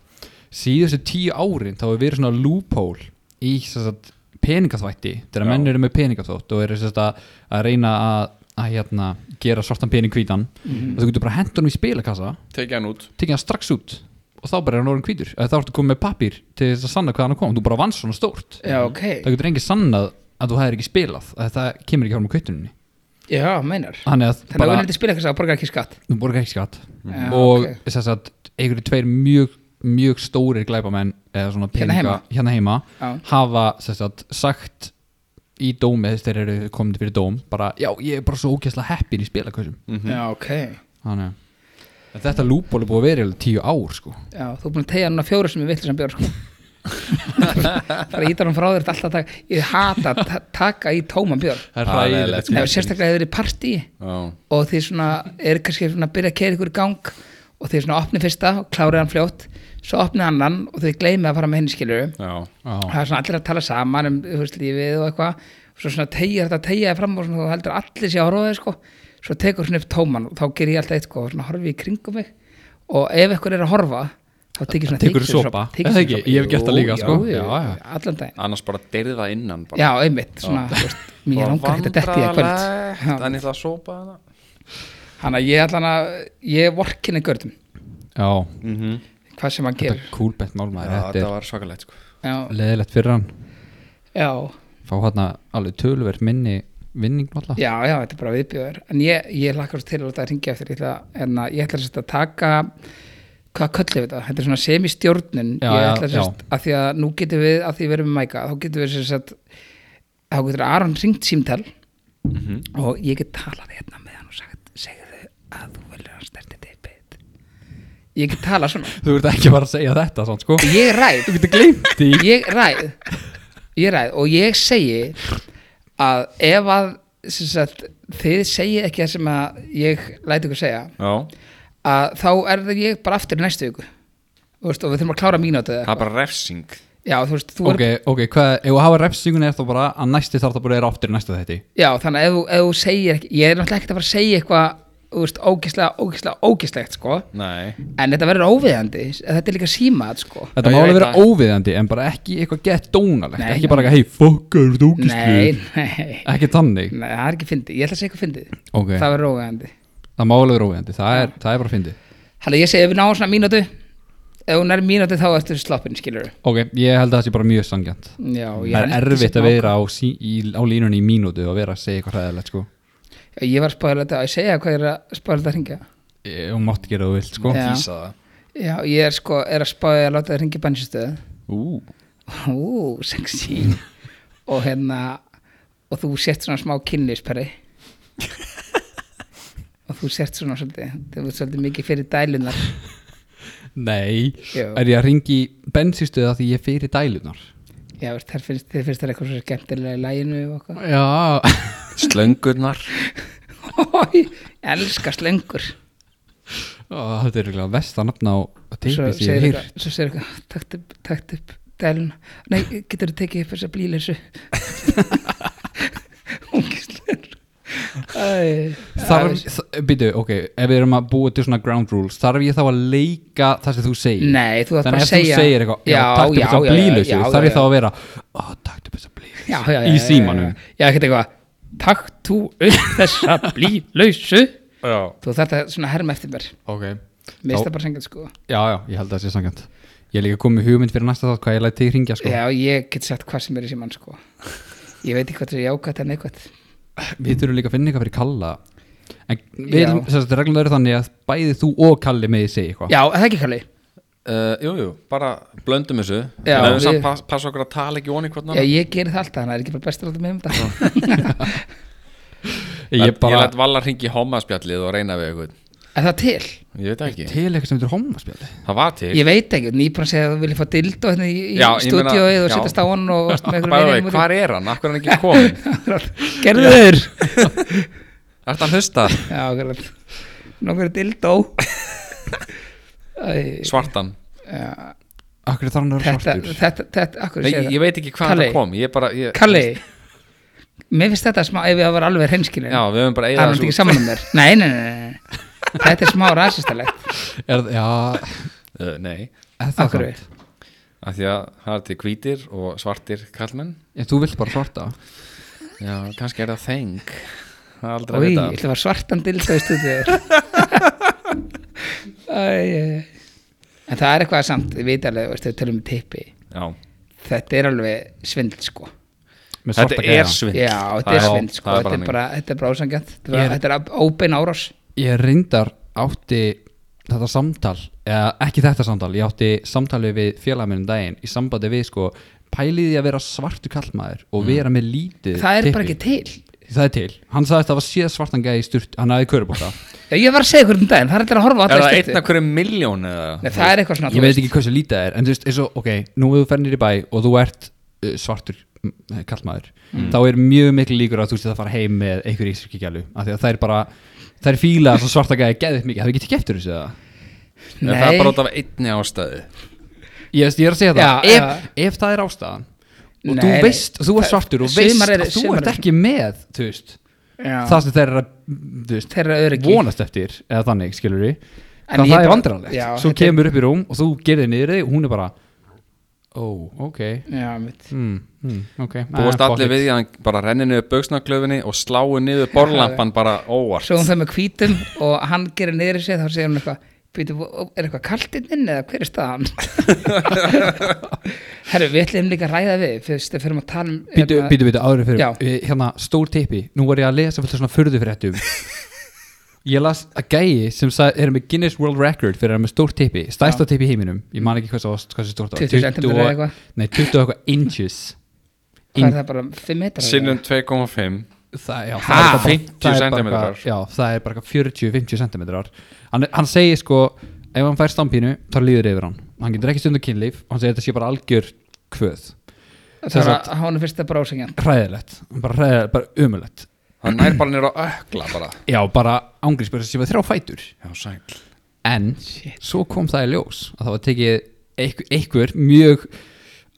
Speaker 1: síðustu tíu árin þá hefur verið svona loophole í sem sagt, peningaþvætti þegar
Speaker 2: Já.
Speaker 1: menn eru með peningaþvætt og eru sem sagt, að, að reyna að, að hérna, gera svartan pening hvítan og þú getur bara hendunum í spilakassa
Speaker 2: tekið hann út
Speaker 1: tekið hann strax út og þá bara er hann orðin hvítur eða þá ertu komið með pappir til þess að sanna hvað hann kom þú bara vannst svona stórt
Speaker 3: Já, ok.
Speaker 1: það getur engin sannað að þú hefur ekki spilað að það kemur ekki frá með kvittuninni
Speaker 3: Já, meinar.
Speaker 1: þannig að
Speaker 3: Þannig að við erum að spila eitthvað sem að borga ekki skatt.
Speaker 1: þú borgar ekki skatt
Speaker 3: Já,
Speaker 1: og
Speaker 3: ok.
Speaker 1: þess að einhverju tveir mjög, mjög stórir glæpamenn eða svona
Speaker 3: Hérna
Speaker 1: peninga
Speaker 3: heima?
Speaker 1: hérna heima
Speaker 3: Já.
Speaker 1: hafa þess að sagt í dómi þess þeir eru komin fyrir dóm bara já ég er bara svo ógæslega heppin í spilakössum
Speaker 3: Já, ok.
Speaker 1: þannig að þetta lúból er búið að vera í alveg tíu ár sko
Speaker 3: Já, þú er búin að tegja núna fjóru sem ég vill sem björn, sko. Bara ítar hann frá þér þetta alltaf að taka, ég hata að ta- taka í tóman björn.
Speaker 1: það
Speaker 2: er hræðilegt, sko.
Speaker 3: Nei, sérstaklega hefur þið partíi.
Speaker 2: já,
Speaker 3: og þið svona er kannski svona að byrja að keira ykkur í gang og þið svona opnið fyrsta og klárið hann fljótt svo opnið annan og þið gleymið að fara með henni skilur
Speaker 2: já,
Speaker 1: já,
Speaker 3: það er svona allir að tala saman um þú veist, lífið og eitthvað svo svona tegir þetta tegjaði fram og svona þú heldur að allir sé að horfa á þig sko svo tekur svona upp tóman og þá ger ég alltaf eitthvað og svona horfi í kringum mig og ef eitthvað er að horfa þá tekur svona
Speaker 1: Tekur
Speaker 3: þykkjussopa-
Speaker 1: sopa.
Speaker 3: þykkjussopa.
Speaker 1: Er það ekki? Ég hef gert það
Speaker 3: Jú,
Speaker 1: líka,
Speaker 3: já,
Speaker 1: sko.
Speaker 3: já,
Speaker 1: Já, já.
Speaker 3: allan daginn
Speaker 2: annars bara deyrða innan bara.
Speaker 3: já, einmitt svona, þú veist, mér langar ekkert að detti í eitthvað kvöld Já.
Speaker 2: hann ætla að sopa hana
Speaker 3: Þannig að ég allan að, ég vorkinni görðum,
Speaker 1: já
Speaker 2: mm -hmm.
Speaker 3: hvað sem hann
Speaker 1: þetta
Speaker 3: gerir.
Speaker 1: er kúlbett málmaður þetta
Speaker 2: var svakalegt sko.
Speaker 3: Já,
Speaker 1: er leðilegt fyrir hann
Speaker 3: já,
Speaker 1: fá hann alveg töluvert minni vinning náttúrulega
Speaker 3: já, já, þetta er bara viðbjöður. En ég, ég lakkar svo til að láta það ringja eftir, ég ætla, en að, hérna, ég ætla sérst að taka, hvað köllum við þetta? Þetta er svona semistjórnun,
Speaker 1: Já,
Speaker 3: ég
Speaker 1: já,
Speaker 3: ætla sérst að því að nú getum við, að því við erum með mæka, þá getum við sérst að, þá getur Aron ringt símtal og ég get talað hérna með hann og sagt, segðu að þú velur að sterti teipið. Ég get talað svona,
Speaker 1: þú ert ekki bara að segja þetta svona sko
Speaker 3: ég ræð.
Speaker 1: þú getur gleymt því
Speaker 3: ég ræð ég ræð og ég segi að ef að sem sagt, þið segi ekki það sem að ég læti ykkur segja
Speaker 2: já,
Speaker 3: að þá er það ég bara aftur í næstu viku Þú veist, og við þurfum að klára mínútu
Speaker 2: það
Speaker 3: eða eitthvað.
Speaker 2: er bara refsing
Speaker 3: já, þú veist, þú
Speaker 1: ok, ok, hvað, ef þú hafa refsingunni er þá bara að næsti þarf það bara að er aftur í næsta þetta
Speaker 3: er, já, þannig að ef, þú- ef þú segir ekki ég er náttúrulega ekkert að fara að segja eitthvað þú veist, ógislega, ógislega, ógislegt sko.
Speaker 2: nei,
Speaker 3: en þetta verður óviðandi þetta er líka símað sko.
Speaker 1: þetta
Speaker 2: Já,
Speaker 1: má
Speaker 2: ég
Speaker 1: alveg
Speaker 2: veit
Speaker 1: vera
Speaker 2: það.
Speaker 1: óviðandi en bara ekki eitthvað gett dónalegt
Speaker 3: Nei,
Speaker 1: ekki
Speaker 3: nei.
Speaker 1: bara eitthvað, hei, fuck, er þú
Speaker 3: nei,
Speaker 1: ógistlu
Speaker 3: nei,
Speaker 1: ekki þannig,
Speaker 3: nei, það er ekki fyndið ég ætla að segja eitthvað fyndið
Speaker 1: ok,
Speaker 3: það verður óviðandi
Speaker 1: það má alveg vera óviðandi það er, það er bara að fyndi
Speaker 3: Þannig að ég segi ef við náum svona mínútu ef hún er mínúti þá ertu sloppin skilur
Speaker 1: ok, ég held að það sé bara mjög sangjant
Speaker 3: já, ég
Speaker 1: það er
Speaker 3: henti
Speaker 1: erfitt
Speaker 3: sér
Speaker 1: að
Speaker 3: nokkuð.
Speaker 1: vera á, sí, í, á línunni í mínútu og vera að segja eitthvað hræðilegt sko
Speaker 3: Já, ég var spáður þetta að segja hvað ég er að spáður þetta að ringja
Speaker 1: Eh, og mátt gera þú vilt sko
Speaker 3: Já.
Speaker 2: Físa það
Speaker 3: já, ég er sko, er að spáður að láta það ringja bænsistöðu
Speaker 2: Ú,
Speaker 3: ú, sexy og hérna og þú sért svona smá kynlisperri og þú sért svona svolítið, þú veist svolítið mikið fyrir dælunar
Speaker 1: nei,
Speaker 3: Jú.
Speaker 1: er ég að ringi bensinstöða því ég er fyrir dælunar
Speaker 3: já, þér finnst, þér finnst það eitthvað svo skemmtilega í læginu og eitthvað
Speaker 1: já,
Speaker 2: slöngurnar
Speaker 3: Hói, elska slöngur
Speaker 1: Ó, þetta er eiginlega versta nafna á
Speaker 3: svo
Speaker 1: teipi því ég
Speaker 3: segir
Speaker 1: heyr
Speaker 3: eitthvað, svo segir eitthvað takt upp, takt upp dæluna nei, getur þú tekið upp þessa blíleysu ungislegur Æ,
Speaker 1: Þarf, þ- býtu, ok, ef við erum að búa til svona ground rules, þarf ég þá að leika það sem þú segir?
Speaker 3: Nei, þú þarf bara
Speaker 1: Þannig
Speaker 3: að
Speaker 1: ef þú
Speaker 3: segja-
Speaker 1: segir eitthvað, já,
Speaker 3: Já,
Speaker 1: taktu upp
Speaker 3: já,
Speaker 1: þess að
Speaker 3: já, já,
Speaker 1: blílusu,
Speaker 3: já, já,
Speaker 1: þarf ég
Speaker 3: já.
Speaker 1: þá að vera, ó, taktu upp þess að blílusu,
Speaker 3: já, já, já,
Speaker 1: í
Speaker 3: já,
Speaker 1: símanum.
Speaker 3: já, já, ekkert eitthvað takt þú upp þessa blíleysu
Speaker 2: Já,
Speaker 3: þú þarf það svona herma eftir mér
Speaker 1: Ok.
Speaker 3: mér
Speaker 1: Já.
Speaker 3: finnst það bara sengjant sko
Speaker 1: Já, já, ég held að það sé sangjönd. Ég er líka komið með hugmynd fyrir næsta þátt hvað ég læti þig ringja, sko.
Speaker 3: já, ég get sagt hvað sem er í síman sko ég veit ekki hvað það er jákvæmt en eitthvað
Speaker 1: Við þurfum líka að finna eitthvað fyrir Kalla. En við,
Speaker 3: Já.
Speaker 1: sérst, reglunar eru þannig að bæði þú og Kalli með segja eitthvað.
Speaker 3: já, er það ekki kalli
Speaker 2: uh, jú, jú, bara blöndum þessu
Speaker 3: Já,
Speaker 2: En við samt
Speaker 3: við-
Speaker 2: pass, passa okkur að tala ekki onni hvort
Speaker 3: já, ég gerir það alltaf, þannig að það er ekki bara best að láta mig um þetta
Speaker 1: Ég
Speaker 2: Ég
Speaker 1: bara,
Speaker 2: læt Valla hringi í hommaspjallið og reyna við eitthvað
Speaker 3: er það til?
Speaker 2: Ég veit ekki,
Speaker 1: til eitthvað sem þetta er homaspjali.
Speaker 2: það var til
Speaker 3: ég veit ekki, en ég er bara að segja að þú vilja fá dildó hérna í, í
Speaker 2: Já, ég meina-
Speaker 3: stúdíóið og
Speaker 2: já.
Speaker 3: setjast á hann og varst með
Speaker 2: Bæði vei, hvar er hann? Akkur er hann ekki komin?
Speaker 3: gerðu þeir
Speaker 2: Ert hann hlusta?
Speaker 3: já, gerðu nokkur dildó Æ,
Speaker 2: Svartan
Speaker 3: já,
Speaker 1: Akkur þarf hann að vera
Speaker 3: þetta,
Speaker 1: svartur.
Speaker 3: þetta, þetta akkur
Speaker 2: Nei,
Speaker 3: segja
Speaker 2: ég,
Speaker 3: það
Speaker 2: ég veit ekki hvað
Speaker 3: Kalli.
Speaker 2: hann kom Ég bara, ég,
Speaker 3: Kalli, mér finnst þetta smá ef ég var alveg hreinskilin
Speaker 2: Já,
Speaker 3: það
Speaker 2: við höfum bara
Speaker 3: er
Speaker 2: eigað
Speaker 3: náttúrulega ekki saman um þér nei, nei, nei, nei, nei. þetta er smá rasistalegt
Speaker 1: Er, já,
Speaker 2: uh, Nei,
Speaker 1: er það
Speaker 3: Akkur
Speaker 1: samt?
Speaker 2: af því að það er til hvítir og svartir kallmenn
Speaker 1: En þú vilt bara svarta.
Speaker 2: Já, kannski er það þeng Það er aldrei
Speaker 3: Í,
Speaker 2: að vita
Speaker 3: ætla var svartan dildó í stúdíu En það er eitthvað samt Við veit alveg, veist, við tölum um tippi
Speaker 2: Já,
Speaker 3: Þetta er alveg svindl sko
Speaker 1: Með svarta
Speaker 2: þetta
Speaker 1: gæja.
Speaker 2: er svindl
Speaker 3: Já, þetta
Speaker 2: Það
Speaker 3: er svindl sko
Speaker 2: það
Speaker 3: Þetta er
Speaker 2: þannig.
Speaker 3: bara, þetta er bara ásangjant
Speaker 1: Ég er-
Speaker 3: Þetta er óbein árás
Speaker 1: Ég reyndar átti þetta samtal, eða ekki þetta samtal ég átti samtali við félagminnum daginn í sambandi við sko pæliði að vera svartu kallmaður og vera með lítið
Speaker 3: Það er bara
Speaker 1: typpi.
Speaker 3: ekki til
Speaker 1: Það er til, hann sagði þetta var síða svartan gæði í sturt, hann hafði körubóta
Speaker 3: Já, Ég var að segja ykkur um daginn, það er þetta að horfa á
Speaker 2: Er
Speaker 3: alla
Speaker 2: það
Speaker 3: í
Speaker 2: einn
Speaker 3: stúdíu
Speaker 2: af hverju miljón eða?
Speaker 3: Nei, það er eitthvað svona
Speaker 1: ég veit ekki hversu lítið það er en þú veist, eins og, ok, nú ef þú fer nýr í bæ og þú ert uh, svartur mm, kallmaður, þá er mjög miklu líkur að þú sér að fara heim með einhverju ísirkigjalu af því að það er bara, það er fíla svo svarta gæði geðið mikið, það er ekki ekki eftir þessu eða?
Speaker 2: Er það
Speaker 3: Nei.
Speaker 2: bara út af einni ástæði?
Speaker 1: Ég, veist, ég er að segja það
Speaker 3: Já,
Speaker 1: ef, ef það er ástæðan og þú
Speaker 3: Nei,
Speaker 1: veist, þú er
Speaker 3: það-
Speaker 1: svartur og
Speaker 3: sumar
Speaker 1: veist
Speaker 3: eru-
Speaker 1: að þú
Speaker 3: sumar
Speaker 1: ert
Speaker 3: eru-
Speaker 1: ekki með þú veist,
Speaker 3: Já.
Speaker 1: það sem þeir eru að þú veist,
Speaker 3: Þeirra öryggi.
Speaker 1: vonast eftir eða þannig, skilur við
Speaker 3: En
Speaker 1: þannig það
Speaker 3: ég
Speaker 1: er
Speaker 3: bara-
Speaker 1: vandræðanlegt,
Speaker 3: Já,
Speaker 1: svo
Speaker 3: þetta er-
Speaker 1: kemur upp í rúm og þú gerir niður þig og hún er bara ó, ok
Speaker 3: Já, mitt
Speaker 1: hmm, hmm, ok
Speaker 2: Búast allir við í að hann bara renni niður buksnaklöfinni og slái niður borlampan bara óvart
Speaker 3: Svo hún það með hvítum og hann gerir niður í sig þá segir hún eitthvað "Bíddu, er eitthvað kaltinninn eða hver er staðan herru við ætlum líka að ræða við fyrst við fyrir að tala um
Speaker 1: Býtu,
Speaker 3: hérna-
Speaker 1: býtu, býtu, áður en
Speaker 3: Já.
Speaker 1: fyrir Við- hérna, stór tippi, nú var ég að lesa fullt af svona furðufréttum ég las að gæi sem sag, er með Guinness World Record fyrir að vera með stór tippi, stærsta tippi í heiminum ég man ekki hvað það var, hvað það stórt
Speaker 3: 20 centimeter eða eitthvað.
Speaker 1: nei, 20 og eitthvað inches
Speaker 3: hvað er það bara 5 metrar
Speaker 2: Sinnum 2,5
Speaker 1: það, já,
Speaker 3: Ha?
Speaker 1: það, er bara- það
Speaker 2: 50
Speaker 1: er bara-
Speaker 2: sentimetrar.
Speaker 1: já, það er bara 40-50 centimetrar hann, hann segir sko, ef hann fær stampínu þá líður yfir hann, hann getur ekki stundu kynlíf og hann segir þetta sé bara algjör kvöð
Speaker 3: það er að hann fyrst að brása hérna
Speaker 1: hræðilegt, bara, hræðilegt, bara umulett
Speaker 2: Hann nær bara niður á ökla bara
Speaker 1: já, bara ángriðspyrst sem var þrjá fætur
Speaker 2: Já, sæl
Speaker 1: en svo kom það í ljós að það var tekið einhver, einhver mjög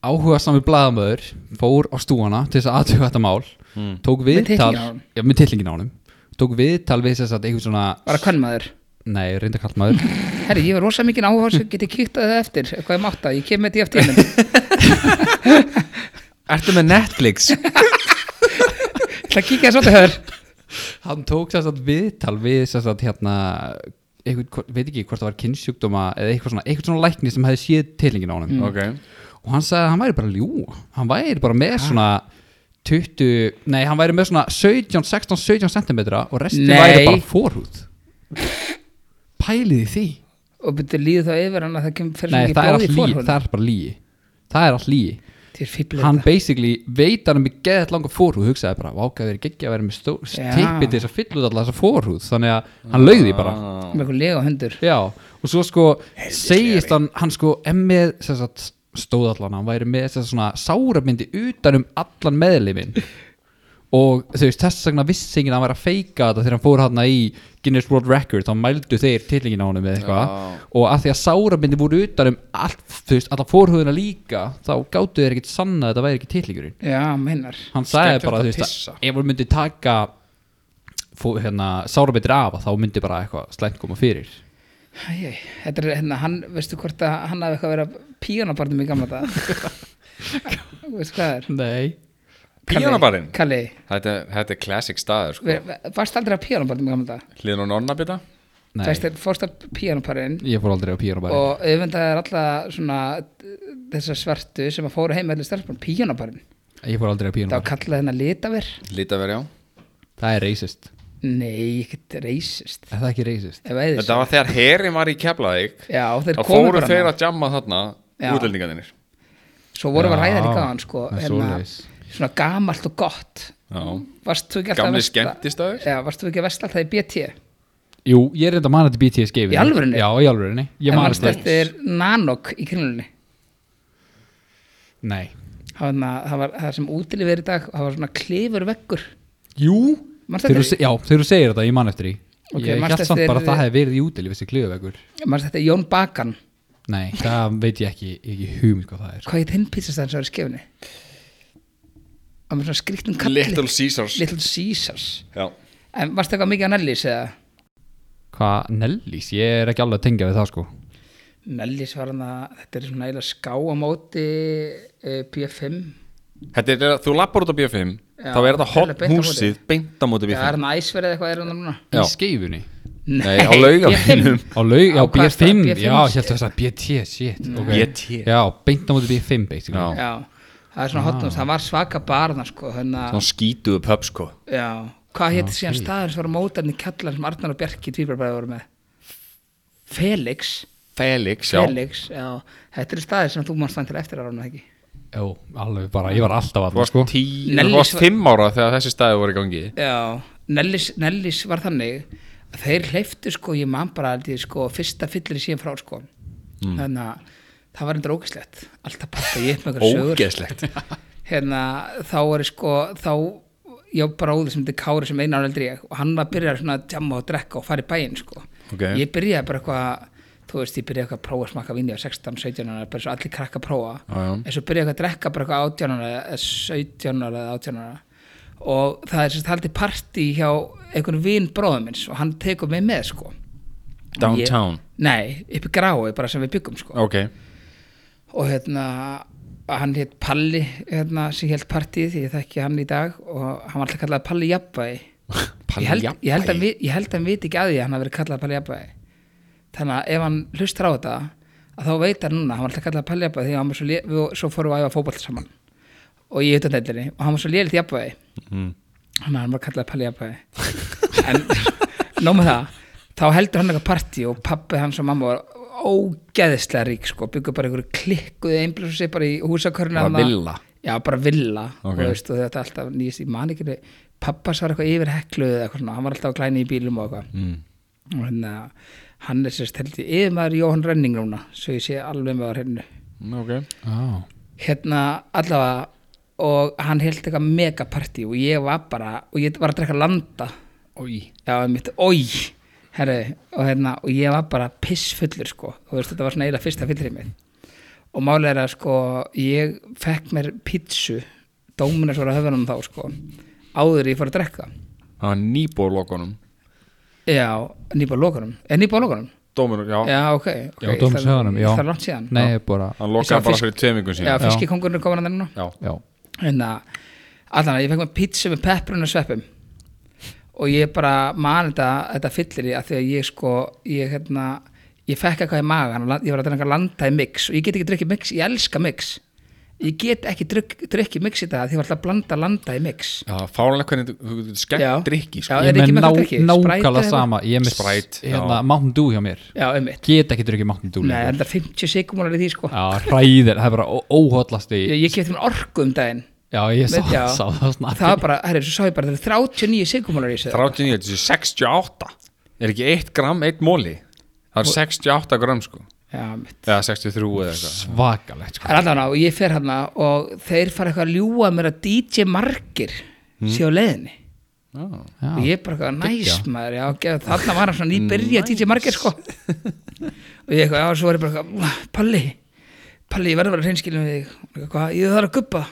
Speaker 1: áhuga sami blaðamöður fór á stúana til þess að aðtöku þetta mál
Speaker 2: Hmm.
Speaker 1: tók viðtal
Speaker 3: titlinginn á honum.
Speaker 1: já, með tillingin á honum tók viðtal við þess að einhver svona
Speaker 3: var að hvern maður
Speaker 1: nei, reynda kallt maður
Speaker 3: herru ég var rosa mikið áhás get ég kýtt að það eftir eitthvað ég mátt að ég kem með því eftir ég
Speaker 2: Ertu með Netflix?
Speaker 3: ætla að kíkja það svolítið hör
Speaker 1: hann tók þess að viðtal við þess að hérna eitthvað, veit ekki hvort það var kynnsjúkdóma eða eitthvað svona, eitthvað svona lækni sem hefði séð tilingin á honum
Speaker 3: Mm.
Speaker 2: ok,
Speaker 1: og hann sagði að hann væri bara að ljúa hann væri bara með svona 20, nei hann væri með svona 17, 16, 17 cm og restin
Speaker 3: Nei.
Speaker 1: væri bara forhúð pælið í því
Speaker 3: og byrjuðu líðu þá yfir hann að það kemur fyrir
Speaker 1: nei
Speaker 3: mikið
Speaker 1: það er,
Speaker 3: blóð
Speaker 1: allt
Speaker 3: í
Speaker 1: lígi,
Speaker 3: forhúðina.
Speaker 1: það er bara lígi það er allt lígi
Speaker 3: Þér fíflir
Speaker 1: hann
Speaker 3: þetta.
Speaker 1: basically veit hann er með geðet langa forhúð hugsaði bara, vákaði verið geggja að vera með stó-
Speaker 3: Já.
Speaker 1: tippið til þess að fylla út alltaf þessa forhúð þannig að hann laugði bara
Speaker 2: Ah.
Speaker 3: með eitthvað lega hundur
Speaker 1: Já, og svo sko segist hann, hann sko emmið sem sagt, stóð allan, hann væri með sem sagt, svona sárabindi utan um allan meðlimin og þú veist þess vegna vissi enginn að hann væri að feika þetta þegar hann fór hann í Guinness World Record þá mældu þeir tillingin á honum eða eitthvað
Speaker 2: Já.
Speaker 1: og að því að sárabindi voru utan um allt, þú veist, alla fórhuguna líka þá gáttu þeir ekkit sanna að þetta væri ekki tillingurinn
Speaker 3: já, meinar
Speaker 1: hann sagði
Speaker 2: Skemmtilegt
Speaker 1: bara
Speaker 2: að
Speaker 1: þú veist
Speaker 2: pissa.
Speaker 1: að ef hann myndi taka fó, hérna, sárabindir af að þá myndi bara eitthvað slæmt koma fyrir
Speaker 3: Æ, æ, þetta er hérna, hann, veistu hvort að hann hafi eitthvað verið að píjónabarnum í gamla dag veistu hvað það er
Speaker 1: Nei
Speaker 3: Kalli-
Speaker 2: Píjónabarinn?
Speaker 3: Kalli,
Speaker 2: þetta, er- þetta er classic staður sko.
Speaker 3: ver- varst aldrei að píjónabarnum í gamla dag
Speaker 2: hliðin og nonna bita
Speaker 1: Nei,
Speaker 3: þú veist, þeir fórst að píjónabarinn
Speaker 1: ég fór aldrei á píjónabæri og...
Speaker 3: og auðvitað er alltaf svona þessar svartu sem að fóru heim með allir stelpunum, píjónabarinn
Speaker 1: Ég fór aldrei á
Speaker 3: þá
Speaker 1: píjónabæri
Speaker 3: kallaði hennar litaver
Speaker 2: lítið að vera á
Speaker 1: Það er reysist
Speaker 3: nei, ekkert reysist
Speaker 1: Er það ekki reysist?
Speaker 3: ef að
Speaker 2: þetta var þegar herin var í Keflavík
Speaker 3: já, þeir
Speaker 2: þá
Speaker 3: komu
Speaker 2: fóru
Speaker 3: bara
Speaker 2: þeir
Speaker 3: þarna.
Speaker 2: að jamma þarna
Speaker 3: Já.
Speaker 2: útlendingarnir
Speaker 3: svo voru við að
Speaker 1: Já,
Speaker 3: ræða líka á hann sko,
Speaker 1: það er
Speaker 3: hérna,
Speaker 1: svoleiðis.
Speaker 3: svona gamalt og gott
Speaker 2: Já.
Speaker 3: varst þú ekki alltaf að
Speaker 2: gamli
Speaker 3: versla-
Speaker 2: skemmtistaður
Speaker 3: já, varst þú ekki að vestla alltaf í BT
Speaker 1: Jú, ég er reynda að manna til BTS gefið
Speaker 3: Í alvörunni?
Speaker 1: Já, í alvörunni Ég
Speaker 3: en
Speaker 1: man
Speaker 3: varst
Speaker 1: þetta
Speaker 2: eftir-
Speaker 3: eftir Nanok í kringlunni
Speaker 1: Nei
Speaker 3: það var, þarna- það var það sem útilið er í dag það var svona klifur veggur
Speaker 1: Jú
Speaker 3: Manstu
Speaker 1: Þegar þú
Speaker 3: eftir
Speaker 1: se- Já, þegar þú segir þetta, ég man eftir því
Speaker 3: Ok,
Speaker 1: Ég
Speaker 3: manstu
Speaker 1: held samt
Speaker 3: eftir-
Speaker 1: bara að það hefði verið í útilu Þessi klöðvegur
Speaker 3: maður þetta er Jón Bakan
Speaker 1: Nei, það veit ég ekki, ekki hugmynd hvað það er sko.
Speaker 3: hvað heit hinn pizzastæðan sem var í skefinni það var svona skriktum kalli
Speaker 2: Little Caesars
Speaker 3: Little Caesars
Speaker 2: Já.
Speaker 3: en varst eitthvað mikið á Nellis eða
Speaker 1: Hvað, Nellís? Ég er ekki alveg að tengja við það sko
Speaker 3: Nellis var hann að þetta er svona eiginlega ská á móti uh, B5
Speaker 2: Þetta er, þú lappar út á B5
Speaker 3: Já,
Speaker 2: þá er þetta
Speaker 3: eiginlega
Speaker 2: hot
Speaker 3: beint á móti.
Speaker 2: húsið beint á móti
Speaker 3: það er
Speaker 2: B5
Speaker 3: hann æsverið eitthvað er hann núna
Speaker 1: Í
Speaker 2: Já.
Speaker 1: skeifunni
Speaker 2: Nei, á laugafinum
Speaker 1: Á laug, já,
Speaker 3: Á hvað stað?
Speaker 1: B5
Speaker 3: B5,
Speaker 1: Já, ég held
Speaker 3: shit.
Speaker 1: þess að BT, shit
Speaker 3: Mm.
Speaker 1: ok.
Speaker 2: BT.
Speaker 1: Já, beint á móti B5 basically.
Speaker 2: Já.
Speaker 3: Já, það er svona hotnum,
Speaker 1: Ah.
Speaker 3: það var svaka barna sko, hérna,
Speaker 2: Svona skítuðu pub sko
Speaker 3: já, hvað hétt síðan staður sem var mótarni kjallar sem Arnar og Bjarki tvíbarbæði voru með? Felix,
Speaker 2: Felix, já
Speaker 3: Felix, já, þetta er staður sem þú mann stann til eftir að rána ekki.
Speaker 1: Jó, alveg bara, ég var alltaf
Speaker 2: Þú
Speaker 1: alveg
Speaker 2: varst
Speaker 1: sko
Speaker 2: tí,
Speaker 3: Nellis
Speaker 2: þú varst
Speaker 3: var-
Speaker 2: fimm ára þegar þessi staði voru í gangi
Speaker 3: Já, Nellis, Nellis var þannig að þeir hleyftu sko, ég man bara aldrei sko, fyrsta fyllir í síðan frá sko,
Speaker 2: Mm.
Speaker 3: þannig að það var endur ógæslegt, alltaf bara ég upp með einhverja sögur.
Speaker 2: Ógeðslegt
Speaker 3: hérna, þá er sko þá, ég á bróði sem þetta Kári sem einar eldri ég og hann var að byrja svona að djamma og drekka og fara í bæinn sko
Speaker 2: Ok.
Speaker 3: ég byrjaði bara eitthvað, þú veist, ég byrjaði eitthvað að prófa að smakka vinni á 16, 17 ára, bara svo allir krakka að prófa
Speaker 2: Já, já.
Speaker 3: en svo byrjaði eitthvað að drekka bara eitthvað 18 ára, eða 17 ára eða 18 ára og það er sérst haldið partí hjá einhvern vin bróðum minns og hann tekur mig með sko Og
Speaker 2: Downtown.
Speaker 3: ég, Nei, upp í grái bara sem við byggum sko
Speaker 2: Ok,
Speaker 3: og hérna hann hétt Palli hérna, sem hélt partíð, ég þekki hann í dag og hann var alltaf kallað Palli Jabbaði
Speaker 2: Palli
Speaker 3: ég held, ég held,
Speaker 2: Jafnvægi.
Speaker 3: að, ég held að hann viti ekki að því að hann hafi verið kallað Palli Jabbaði þannig að ef hann hlustar á þetta að þá veit hann núna, hann var alltaf kallað Palli Jabbaði því að hann var svo, lé- við, svo fórum við að æfa fótboll saman og ég utan deildinni og hann var svo lélitt Jabbaði þannig að hann var kallað Palli Jabbaði en nóg með það þá heldur hann eitthvað partí og pappi hans og mamma var ógeðislega rík sko, byggur bara einhverju klikkuð einblur sig bara í húsakörna
Speaker 2: Bara
Speaker 3: þarna.
Speaker 2: villa.
Speaker 3: já, bara villa
Speaker 2: Ok.
Speaker 3: og, veist, og þetta er alltaf nýjast í manikinu pappas var eitthvað yfir hekluð eða eitthvað svona, hann var alltaf að glæni í bílum og eitthvað mm. og hérna, hann er sérst held ég yfirmaður Jóhann Renning núna svo ég sé alveg með var hennu
Speaker 2: Mm, ok
Speaker 1: ah.
Speaker 3: hérna allavega og hann held eitthvað megapartí og ég var bara, og ég var að drekka landa Ói Já, mitt, ói Herri, og, hérna, og ég var bara pissfullur sko, þú veist þetta var svona eiginlega fyrsta fyllur í mig og málið er að sko ég fekk mér pítsu dóminus var að höfunum þá sko áður en ég fór að drekka
Speaker 2: Það var nýbúr lokunum
Speaker 3: Já, nýpa lókunum, er nýpa lókunum?
Speaker 2: Dómur, já,
Speaker 3: Já, ok, ok
Speaker 1: Já, Dóms höfunum, já
Speaker 3: Það er langt síðan
Speaker 1: Nei, bara
Speaker 2: hann
Speaker 3: Ég sá
Speaker 2: lokaði bara
Speaker 3: fisk-
Speaker 2: fyrir tveimingum
Speaker 3: Já,
Speaker 2: síðan
Speaker 3: fiskikongurinn komur hann þennan
Speaker 2: já.
Speaker 1: Já,
Speaker 3: hérna, allan að ég fekk mér pítsu með pepperun og sveppum og ég bara man þetta, þetta fyllir í að því að ég sko ég, hérna, ég fekk eitthvað í magan og lan- ég var að drekka landa í mix og ég get ekki drukkið mix, ég elska mix ég get ekki drukk, drukkið mix í dag því ég var alltaf að blanda landa í mix
Speaker 2: Já, fálega hvernig þú þú getur skemmt
Speaker 3: Já.
Speaker 2: drikki
Speaker 3: Já,
Speaker 2: sko.
Speaker 3: er
Speaker 1: ég
Speaker 3: ekki
Speaker 1: með
Speaker 3: með
Speaker 1: ná,
Speaker 3: hvað drykki? Sprite eða
Speaker 1: nákvæmlega
Speaker 3: eitthvað?
Speaker 1: sama ég er með
Speaker 2: Sprite, já.
Speaker 1: hérna, Mountain Dew hjá mér
Speaker 3: já, um mitt,
Speaker 1: get ekki drukkið Mountain Dew
Speaker 3: nei,
Speaker 1: lengur.
Speaker 3: þetta er 50 sigmúlar í því sko
Speaker 1: Já, hræðir, það er bara óhóllast í
Speaker 3: ég, ég kefti mér orku um daginn
Speaker 1: Já, ég sá,
Speaker 3: Já.
Speaker 1: sá það
Speaker 3: það
Speaker 1: snart
Speaker 3: var bara, herri, svo sá ég bara það eru 39 sigmúlar í þessu
Speaker 2: 39, þetta er 68 er ekki 1 gram, 1 móli það er 68 gram sko
Speaker 3: já, um mitt
Speaker 2: eða 63 eða eitthvað
Speaker 1: Svakalegt sko.
Speaker 3: Það er allavega og ég fer hana og þeir fara eitthvað að ljúga mér að DJ margir sé á leiðinni
Speaker 2: Já.
Speaker 1: Já.
Speaker 3: og ég er bara eitthvað næs maður já, gefa- þarna var hann svona nýbyrja DJ margir sko og ég eitthvað, já, svo var ég bara eitthvað Palli, Palli, ég verður bara hreinskilin við þig Og eitthvað, "Hvað? ég þarf að guppa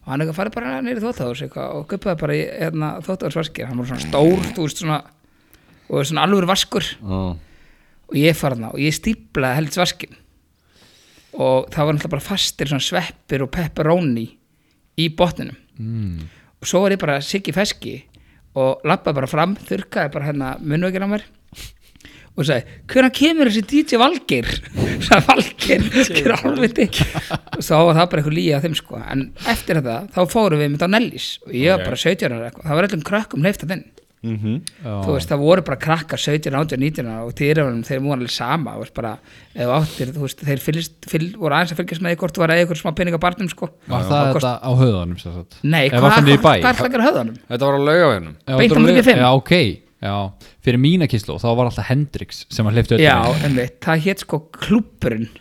Speaker 3: og hann eitthvað farið bara neyri þóttáðurs og guppaði bara í hérna, þóttáðurs vaskir hann var svona stór, þú veist svona og svona alvöru vaskur og ég fara hana og ég stíplaði helds vaskin og það var náttúrulega bara fastir svona sveppir og pepperoni í botninum
Speaker 1: mm.
Speaker 3: og svo var ég bara siggi feski og lappaði bara fram, þurrkaði bara hérna munnvökin á mér og sagði, hvernig kemur þessi DJ Valgir sagði Valgir hver álviti og þá var það bara eitthvað líið á þeim sko en eftir þetta, þá fórum við mynd á Nellis og ég var
Speaker 2: Ok.
Speaker 3: bara 17 ára eitthvað, það var öllum krökkum leift að þinn þú
Speaker 1: Já.
Speaker 3: veist, það voru bara krakkar 17, 18, 19 ára og dýraverðum, þeir voru alveg sama þú veist, bara, ef þú áttir, þú veist, þeir fylgist, fylg, voru aðeins að fylgjast með því hvort þú var að eitthvað smá peninga barnum, sko
Speaker 1: Var það
Speaker 3: Og kost-
Speaker 1: þetta á höðanum sem sagt?
Speaker 3: Nei,
Speaker 1: Eða
Speaker 3: hvað
Speaker 1: var það niður í bæ?
Speaker 3: hvað er það að höfðanum?
Speaker 2: þetta var á laugaveginum
Speaker 1: Já,
Speaker 3: beint á
Speaker 1: þetta var-
Speaker 3: 95?
Speaker 1: Já, ok já. Fyrir mína kynslu, þá var alltaf Hendrix sem að hlifta
Speaker 3: Já, einmitt, það hétt sko klúppurinn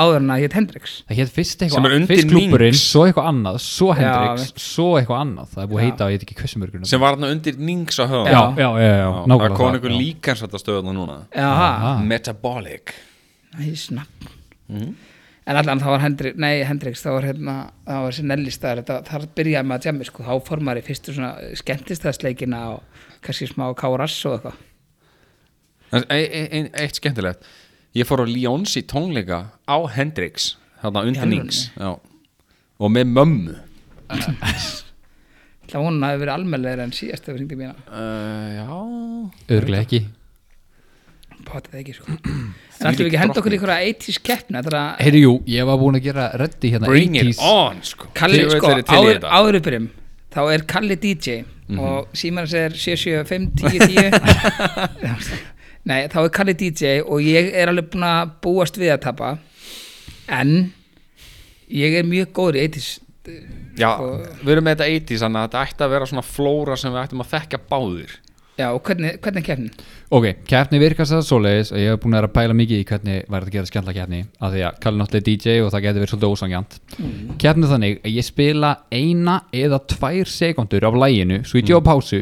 Speaker 3: áður en að hétt Hendrix
Speaker 1: Það hétt fyrst
Speaker 2: Sem er
Speaker 1: eitthvað,
Speaker 2: undir
Speaker 1: fyrst klúburinn,
Speaker 2: Minx.
Speaker 1: svo eitthvað annað, svo Hendrix,
Speaker 3: veit.
Speaker 1: svo eitthvað annað Það er búið að heita, ég veit ekki hversu mörgur
Speaker 2: sem var hann undir Nings á
Speaker 1: Já,
Speaker 2: höfum
Speaker 1: já, já, já, já,
Speaker 2: það
Speaker 1: nákvæmlega
Speaker 2: er konið ykkur
Speaker 1: já.
Speaker 2: líkansvætta stöðuna núna
Speaker 3: Já, ha,
Speaker 1: Ah.
Speaker 2: Metabolic
Speaker 3: næsna
Speaker 1: Mhm.
Speaker 3: En allan þá var Hendrix, nei Hendrix, þá var hérna, þá var sér nellistæður, þar byrjaði maður að djami, sko, þá fór maður í fyrstu svona skemmtistæðsleikina og kannski smá kárass og eitthvað.
Speaker 2: En ein, ein, eitt skemmtilegt ég fór á Ljónsi tónleika á Hendrix þarna
Speaker 3: Í
Speaker 2: undir
Speaker 3: alvörunni?
Speaker 2: Nings já. og með mömmu
Speaker 3: Það vonum að það hefur verið almennlegur en síðast þegar við hringdi mína.
Speaker 2: uh, já
Speaker 1: Örglega ekki
Speaker 3: Potið ekki, sko. en ætlum við ekki að henda okkur í einhverja 80s keppna, þetta er að
Speaker 1: Heyri, jú, ég var búin að gera reddi hérna
Speaker 2: Bring it
Speaker 1: 80s.
Speaker 2: on sko.
Speaker 3: Kalli,
Speaker 2: Þið veit
Speaker 3: sko,
Speaker 2: þeirri til í
Speaker 3: áður,
Speaker 2: þetta. Mhm.
Speaker 3: áður uppurinn, þá er Kalli DJ og síman sér 775, 10, 10. Nei, þá er Kalli DJ og ég er alveg búin að búast við að tapa, en ég er mjög góður í 80s.
Speaker 2: já,
Speaker 3: sko-
Speaker 2: við erum með þetta 80s þannig að þetta ætti að vera svona flóra sem við ættum að þekka báðir
Speaker 3: Já, og hvernig, hvernig er keppnin?
Speaker 1: Ok, keppni virkast það svoleiðis og ég hef búin að vera að pæla mikið í hvernig væri þetta að gera skemmtla keppni af því að Kalli náttúrulega er DJ og það getur verið svolítið ósangjant mm. Keppni er þannig að ég spila eina eða tvær sekundur af læginu svo
Speaker 3: Mm.
Speaker 1: ég djá pásu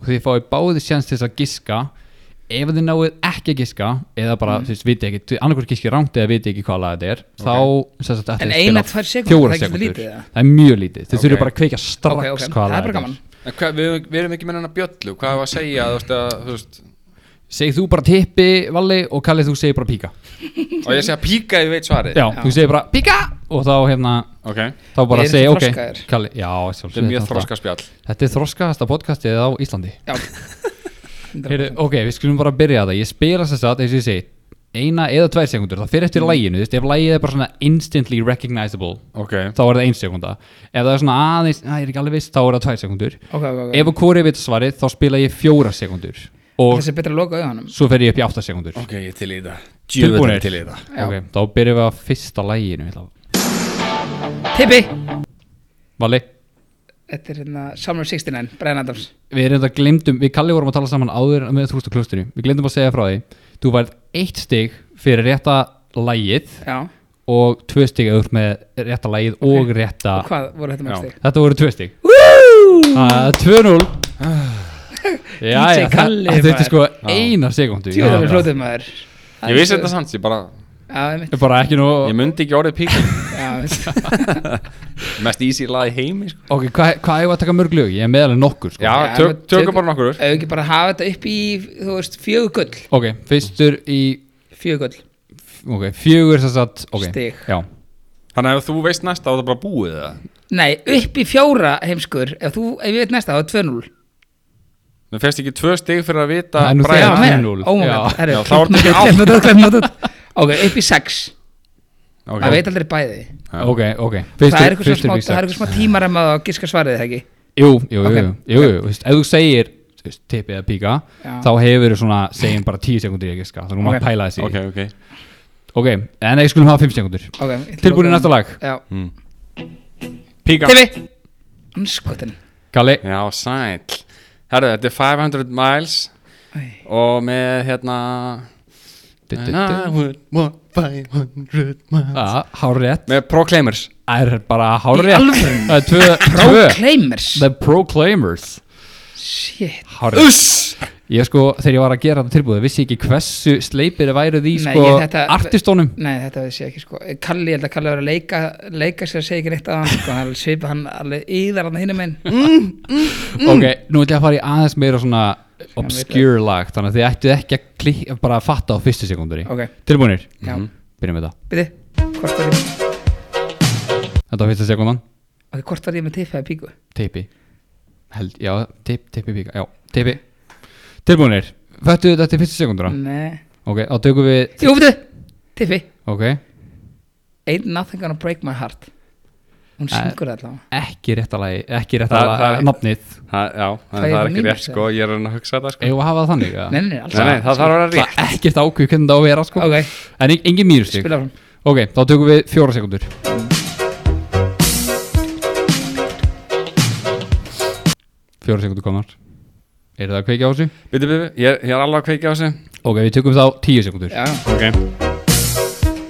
Speaker 1: og þið fáið báði sjans til þess að giska ef þið náið ekki að giska eða bara, mm. þess, viti ekki, annarkur giski rangt eða viti ekki hvað lag þetta er þá, sem sagt, ætlið þið
Speaker 3: En
Speaker 1: að spila
Speaker 3: eina, tvær sekúndur,
Speaker 1: fjórar
Speaker 3: það er ekki
Speaker 1: sekúndur.
Speaker 3: svo lítið, eða?
Speaker 1: Það er mjög lítið, þið
Speaker 2: Ok.
Speaker 1: þurfið bara að kveika strax
Speaker 3: Ok, ok,
Speaker 1: hvað
Speaker 3: það er
Speaker 1: lag
Speaker 3: bara
Speaker 1: þetta
Speaker 3: gaman.
Speaker 2: En Hvað, við, við erum ekki með hennar bjöllu, hvað hefur að segja þú veist, að, þú veist,
Speaker 1: Segð þú bara tippi, Valli, og Kalli þú segir bara píka
Speaker 2: og ég segja píka ef ég veit svarið
Speaker 1: já, þú segir bara píka og þá hérna
Speaker 2: Ok,
Speaker 1: þá bara
Speaker 3: Eru
Speaker 1: segir
Speaker 3: þið
Speaker 1: ok
Speaker 3: þroskaðir?
Speaker 1: Kalli, já,
Speaker 2: þetta er mjög þroska spjall
Speaker 1: þetta er þroskaðasta podcastið á Íslandi
Speaker 3: Já.
Speaker 1: Heyru, ok, við skulum bara byrja það ég spila þess að, eins og ég segi eina eða tvær sekundur, það fyrir eftir mm. læginu þú veist, ef lægið er bara svona instantly recognizable
Speaker 2: Ok,
Speaker 1: þá er það ein sekunda ef það er svona aðeins, að ég er ekki alveg viss þá er það tvær sekundur
Speaker 3: Ok, ok, ok.
Speaker 1: ef að hvori veit svarið, þá spila ég fjóra sekundur og
Speaker 3: Þessi er betra að loka auðanum.
Speaker 1: svo fer ég upp í átta sekundur
Speaker 2: ok, ég er til í þetta
Speaker 1: Tilbúnir?
Speaker 2: Djöfull er ég til í þetta
Speaker 3: Já.
Speaker 1: ok, þá byrjum við á fyrsta læginu ég ætla að-
Speaker 3: Tippi!
Speaker 1: Valli
Speaker 3: Þetta er hérna Summer of 69, Brian Adams.
Speaker 1: við erum þetta glemdum, við Kalli vorum að tala saman áður með þrúst og klustinu, við glemdum að segja frá því þú værið eitt stig fyrir rétta lægið
Speaker 3: Já.
Speaker 1: og tvö stig auður með rétta lægið og rétta,
Speaker 3: Og hvað voru þetta
Speaker 2: Ah. Já. Ah,
Speaker 3: mörg stig?
Speaker 1: þetta voru tvö stig
Speaker 3: Woo!
Speaker 1: uh, 2-0 já,
Speaker 3: DJ
Speaker 1: já, það,
Speaker 3: Ah. Kalli,
Speaker 1: þetta er
Speaker 3: maður.
Speaker 1: sko eina sekundu
Speaker 3: Jú, það er flótið maður.
Speaker 2: Ég vissi þetta samt, ég bara,
Speaker 3: Já, einmitt.
Speaker 1: bara ekki nú
Speaker 2: ég myndi ekki orðið píka
Speaker 3: Já, einmitt.
Speaker 2: Mest easy lag í heimi sko.
Speaker 1: ok, hvað hvað hefur að taka mörg lög, ég er meðalega nokkur sko.
Speaker 2: Já,
Speaker 3: Já,
Speaker 2: tök,
Speaker 3: en
Speaker 2: tökum
Speaker 3: tökum-
Speaker 2: bara nokkur úr.
Speaker 3: Ef við ekki bara hafa þetta upp í, þú veist, fjögur gull
Speaker 1: ok, fyrstur í
Speaker 3: Fjögur gull
Speaker 1: ok, fjögur þess að ok,
Speaker 3: Stig.
Speaker 1: já,
Speaker 2: Þannig að ef þú veist næsta á það bara búið það
Speaker 3: Nei, upp í fjóra heimskur Ef, þú, ef ég veit næsta, þá er 2-0
Speaker 2: Mér fæst ekki tvö stig fyrir að vita
Speaker 1: Það er nú
Speaker 2: Brian.
Speaker 1: þegar.
Speaker 3: Já, með,
Speaker 1: 3-0. Já.
Speaker 3: ómögulegt, herru,
Speaker 2: Já, þá er
Speaker 3: klipnum
Speaker 2: þetta ekki
Speaker 3: þetta, klipnum þetta, klipnum þetta Ok, upp í 6,
Speaker 2: Ok.
Speaker 3: maður veit aldrei bæði
Speaker 2: Já.
Speaker 1: ok, ok
Speaker 3: Það er eitthvað
Speaker 1: fyrstir
Speaker 3: smá,
Speaker 1: vísa.
Speaker 3: það er eitthvað smá tímaram að gíska svarið, eða ekki?
Speaker 1: Jú, jú,
Speaker 3: Ok.
Speaker 1: jú, jú, jú, jú. þú veist, ef þú segir þú veist, tippi eða píka,
Speaker 3: Já.
Speaker 1: þá hefur þú svona segjum bara 10 sekundir ekki, þá erum
Speaker 3: Ok.
Speaker 1: maður að pæla þessi
Speaker 2: Ok, ok
Speaker 1: ok, en ekki skulum hafa 5 sekundir
Speaker 3: Ok, ég ætla að
Speaker 1: Tilbúin í
Speaker 3: loka
Speaker 1: næsta lag.
Speaker 3: Já,
Speaker 2: mm. Píka
Speaker 3: Tifi Anskotin
Speaker 1: Kalli,
Speaker 2: Já, sæl Herru, þetta er 500 miles
Speaker 3: Æ.
Speaker 2: Og með hérna And I would walk 500 miles
Speaker 1: hár rétt
Speaker 2: Ah, Með Proclaimers
Speaker 1: það Ah, er bara hár
Speaker 3: Í
Speaker 1: rétt
Speaker 3: alvöru?
Speaker 1: það er tvö, tvö,
Speaker 3: Proclaimers
Speaker 1: The Proclaimers
Speaker 3: Shit
Speaker 1: hár rétt
Speaker 2: Uss
Speaker 1: ég sko, þegar ég var að gera þetta tilbúið, vissi ég ekki hversu sleipir væru því
Speaker 3: Nei,
Speaker 1: sko
Speaker 3: ég- þetta-
Speaker 1: artistónum
Speaker 3: Nei, þetta veist ég ekki sko Kalli, ég held að Kalli var að leika leika sér að segja ekki neitt að hann sko hann svipa hann alveg yðar hann hinum einn
Speaker 2: Mm.
Speaker 3: Mm.
Speaker 1: ok, nú ætla ég að fara í aðeins meira svona obscure lag, þannig að þið ættu ekki að klik, bara að fatta á fyrstu sekundur
Speaker 3: Ok,
Speaker 1: tilbúinir,
Speaker 3: já,
Speaker 1: Mhm. byrjum við það
Speaker 3: byrði Hvort var ég
Speaker 1: Þetta var fyrsta sekundan
Speaker 3: Ok, hvort var ég með tifaði píku?
Speaker 1: Teipi Held, já, teip, teipi píka Já, teipi Tilbúinir Fættu þetta til fyrsta sekundura
Speaker 3: Nei
Speaker 1: Ok, þá tökum við
Speaker 3: Mm. Jú, byrði Tifi
Speaker 1: Ok
Speaker 3: Ain't nothing gonna break my heart Hún
Speaker 1: Nei.
Speaker 3: syngur það allavega
Speaker 1: Ekki rétta lagi Ekki rétta
Speaker 2: Það-
Speaker 1: lagi
Speaker 2: það-
Speaker 1: Nafnið
Speaker 2: Það, já, það,
Speaker 3: Það er
Speaker 2: það er
Speaker 3: bara
Speaker 2: ekki
Speaker 3: mínus,
Speaker 2: rétt sko, ég er að reyna að hugsa þetta sko
Speaker 1: Eða að hafa það þannig eða?
Speaker 3: Nei, nei, nei, alls
Speaker 2: Nei, nei, það þarf að vera
Speaker 1: Það
Speaker 2: rétt
Speaker 1: er ekkert ákveð hvernig það á að vera sko
Speaker 3: Ok,
Speaker 1: En en- engin mýrustig
Speaker 3: spila frá
Speaker 1: Ok, þá tökum við fjóra sekundur Fjóra sekundur komar Er það að kveikja á þessu?
Speaker 2: Bitu, bitu, ég, er- ég er alveg að kveika á þessu
Speaker 1: Ok, við tökum þá tíu sekundur
Speaker 3: Já,
Speaker 2: Ok